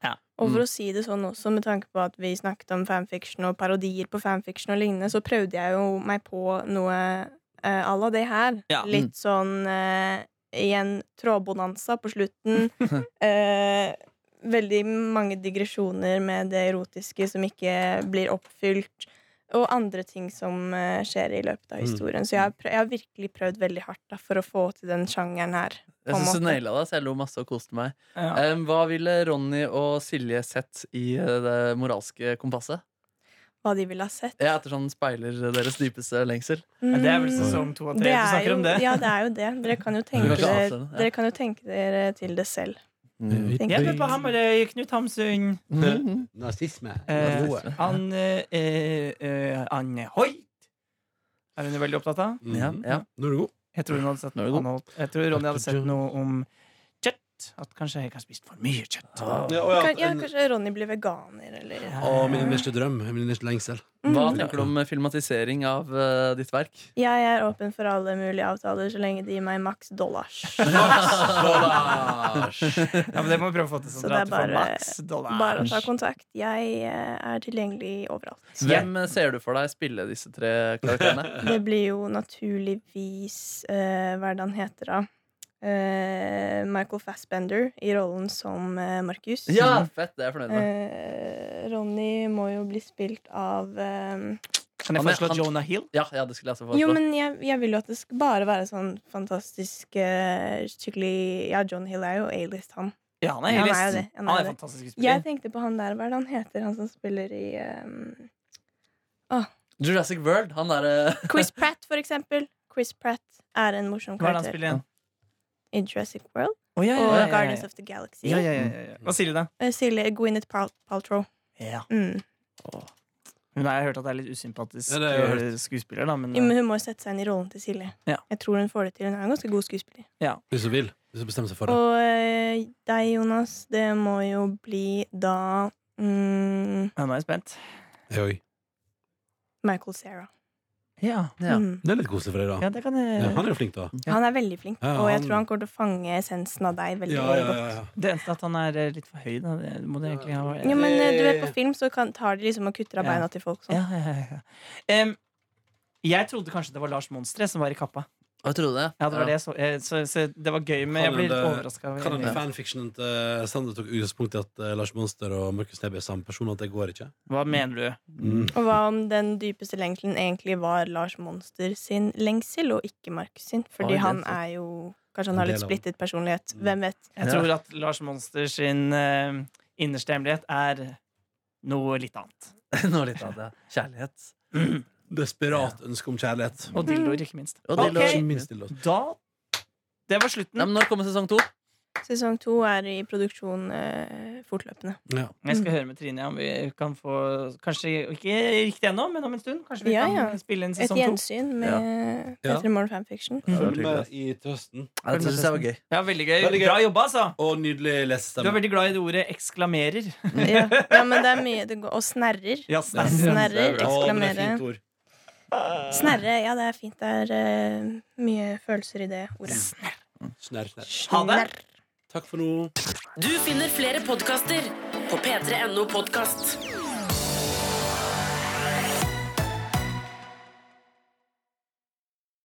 Speaker 7: Og
Speaker 2: Mm.
Speaker 7: for å si det sånn også, med tanke på at vi snakket om fanfiction og parodier på fanfiction og lignende, så prøvde jeg jo meg på noe eh, à la det her.
Speaker 2: Ja.
Speaker 7: Litt sånn eh, igjen trådbonanza på slutten. eh, veldig mange digresjoner med det erotiske som ikke blir oppfylt. Og andre ting som eh, skjer i løpet
Speaker 2: Mm.
Speaker 7: av historien. Så jeg har, prø- jeg har virkelig prøvd veldig hardt da, for å få til den sjangeren her.
Speaker 5: Jeg
Speaker 7: På en
Speaker 5: synes du
Speaker 7: måte.
Speaker 5: naila det, så jeg lo masse og koste meg.
Speaker 2: Ja.
Speaker 5: Em, hva ville Ronny og Silje sett i eh, det moralske kompasset?
Speaker 7: Hva de ville ha sett.
Speaker 5: Ja, etter sånn speiler deres dypeste lengsel.
Speaker 2: Men det er vel
Speaker 7: Mm.
Speaker 2: sesong to og
Speaker 7: Det
Speaker 2: tre du
Speaker 7: er
Speaker 2: snakker
Speaker 7: jo,
Speaker 2: om det.
Speaker 7: Ja, det er jo det. Dere kan jo tenke,
Speaker 5: kan ikke
Speaker 7: dere,
Speaker 5: avsløre det, ja.
Speaker 7: dere, kan jo tenke dere til det selv.
Speaker 3: Mm.
Speaker 7: tenker
Speaker 2: Hjemme
Speaker 7: jeg.
Speaker 2: på Hamarøy, Knut Hamsun,
Speaker 5: Mhm.
Speaker 3: Nazisme.
Speaker 2: eh,
Speaker 3: Gode.
Speaker 2: Anne, eh, eh, Anne Hoit er hun jo veldig opptatt av.
Speaker 3: Mhm.
Speaker 5: Ja, ja.
Speaker 3: Nå er du god.
Speaker 2: Jeg tror, hun hadde sett
Speaker 5: Nå er det god.
Speaker 2: Anne Holt- jeg tror Ronny hadde sett noe om kjøtt. At kanskje jeg har spist for mye kjøtt.
Speaker 3: Ja, å, ja,
Speaker 7: Kan, ja,
Speaker 3: en-
Speaker 7: kanskje Ronny blir veganer, eller
Speaker 3: Ah.
Speaker 7: Mm.
Speaker 3: å, min innerste drøm. Min innerste lengsel.
Speaker 5: Hva tenker du om filmatisering av eh, ditt verk?
Speaker 7: Jeg er åpen for alle mulige avtaler så lenge de gir meg maks dollars.
Speaker 3: Sånn
Speaker 2: Ja, men det må vi prøve å få til
Speaker 7: Så
Speaker 2: sånn
Speaker 7: det er
Speaker 2: at du får
Speaker 7: bare-
Speaker 2: maks
Speaker 7: Bare å ta
Speaker 2: dollar.
Speaker 7: kontakt. Jeg eh, er tilgjengelig overalt.
Speaker 5: Hvem eh, ser du for deg spille disse tre karakterene?
Speaker 7: Det blir jo naturligvis eh, Hva er det han heter, da? Eh, Michael Fassbender i rollen som eh, Markus.
Speaker 5: Ja, fett, det er jeg fornøyd med.
Speaker 7: Eh, Ronny må jo bli spilt av eh,
Speaker 2: Kan
Speaker 5: Han
Speaker 2: jeg
Speaker 5: er-
Speaker 2: foreslå
Speaker 5: han-
Speaker 2: Jonah Hill?
Speaker 5: Ja, ja, det skulle jeg også foreslå.
Speaker 7: Jo, men jeg, jeg vil jo at det skal bare være sånn fantastisk eh, skikkelig Ja, John Hill er jo A-list, han.
Speaker 2: Ja, han er,
Speaker 7: Han er
Speaker 2: helst.
Speaker 7: jo det,
Speaker 2: Han
Speaker 7: han er
Speaker 2: er,
Speaker 7: det.
Speaker 2: fantastisk
Speaker 7: Jeg
Speaker 2: skuespiller.
Speaker 7: tenkte på han der, hva er det han heter, han som spiller i eh,
Speaker 5: Jurassic World, han er eh,
Speaker 7: Chris Pratt, for eksempel. Chris Pratt er en morsom
Speaker 2: Hva er det han
Speaker 7: karakter
Speaker 2: spiller igjen?
Speaker 7: i Jurassic World
Speaker 2: Å, ja, ja,
Speaker 7: og
Speaker 2: ja, ja,
Speaker 7: Guardians
Speaker 2: ja.
Speaker 7: of the Galaxy.
Speaker 2: Ja, ja, ja, ja, ja. Hva sier du da?
Speaker 7: Eh, Silje Gwyneth Pal- Paltrow.
Speaker 2: Ja.
Speaker 7: Mm.
Speaker 2: Hun har jeg hørt at det er litt usympatisk
Speaker 3: Ja, det har jeg
Speaker 2: eh, skuespiller, da, men
Speaker 7: Jo, Men hun må jo sette seg inn i rollen til Silje.
Speaker 2: Ja.
Speaker 7: Jeg tror hun får det til. Hun er en ganske god skuespiller.
Speaker 3: Hvis hun vil. Hvis hun bestemmer seg for det.
Speaker 7: Og eh, deg, Jonas, det må jo bli da mm,
Speaker 2: Ja, nå er jeg spent.
Speaker 3: Hei, oi.
Speaker 7: Michael Cera.
Speaker 2: Ja,
Speaker 5: ja.
Speaker 7: Mm.
Speaker 3: Det er litt koselig for deg, da.
Speaker 2: ja det kan jeg
Speaker 3: Ja, han er jo flink, da.
Speaker 5: Ja.
Speaker 7: Han er veldig flink,
Speaker 3: Ja,
Speaker 7: og jeg
Speaker 3: han-
Speaker 7: tror han kommer til å fange essensen av deg veldig
Speaker 3: Ja, ja,
Speaker 7: godt.
Speaker 3: ja, ja.
Speaker 2: Det eneste er at han er eh, litt for høy, da. Det må det egentlig ha
Speaker 7: Jo, men eh, du vet, på film så kan, tar de liksom og kutter av
Speaker 2: Ja.
Speaker 7: beina til folk sånn.
Speaker 2: Ja, ja, ja, ja. Em, jeg trodde kanskje det var Lars Monstre som var i kappa.
Speaker 5: Jeg trodde det.
Speaker 2: Ja, det var det jeg så. Eh, Så, så det var gøy, men
Speaker 3: Kan
Speaker 2: jeg blir litt
Speaker 3: hende-
Speaker 2: overraska.
Speaker 3: Kan hende fanfictionen til eh, Sander tok utgangspunkt i at eh, Lars Monster og Markus Neby er samme person, at det går ikke?
Speaker 2: Hva mener du?
Speaker 3: Mm.
Speaker 7: Og hva om den dypeste lengselen egentlig var Lars Monster sin lengsel, og ikke Markus sin?
Speaker 5: Oi,
Speaker 7: Fordi
Speaker 5: det er
Speaker 7: han
Speaker 5: sant.
Speaker 7: er jo Kanskje
Speaker 3: En
Speaker 7: han har
Speaker 3: del av
Speaker 7: litt
Speaker 3: den.
Speaker 7: splittet personlighet.
Speaker 3: Mm.
Speaker 7: Hvem vet?
Speaker 2: Jeg
Speaker 5: Ja.
Speaker 2: tror at Lars Monster sin eh, innerste hemmelighet er noe litt annet.
Speaker 5: Nå litt av det. Kjærlighet.
Speaker 3: Desperat ønske om kjærlighet.
Speaker 2: Og dildoer, ikke minst.
Speaker 5: Og
Speaker 2: Ok.
Speaker 5: dildoer.
Speaker 3: Ikke minst til oss.
Speaker 2: Da Det var
Speaker 5: Ja,
Speaker 2: slutten.
Speaker 5: men når kommer sesong to?
Speaker 7: Sesong to er i produksjon eh, fortløpende.
Speaker 3: Ja.
Speaker 2: Jeg skal høre med Trine om vi kan få Kanskje ikke riktig ennå, men om en stund. Kanskje vi
Speaker 7: Ja,
Speaker 2: kan
Speaker 7: ja.
Speaker 2: spille inn
Speaker 7: Et
Speaker 2: sesong to.
Speaker 7: gjensyn med
Speaker 3: Ja.
Speaker 7: Petre Moren Fanfiction.
Speaker 3: Følg med i trøsten.
Speaker 5: Ja, det synes jeg var gøy.
Speaker 2: Ja, veldig gøy.
Speaker 3: Veldig gøy.
Speaker 2: Bra jobba, altså.
Speaker 3: Og
Speaker 2: Du
Speaker 3: nydelig
Speaker 2: er
Speaker 3: lesestemme.
Speaker 2: veldig glad i det ordet 'eksklamerer'.
Speaker 7: Ja. ja, men det er mye det går, Og snerrer.
Speaker 2: Ja, stemmer.
Speaker 3: Å, men det
Speaker 7: Snerrer,
Speaker 3: er
Speaker 7: eksklamere.
Speaker 3: fint ord.
Speaker 7: Snerre, ja, det er fint. Det er eh, mye følelser i det ordet.
Speaker 3: Snerr, snerr.
Speaker 2: Ha det.
Speaker 3: Takk for nå.
Speaker 9: Du finner flere podkaster på p3.no podkast.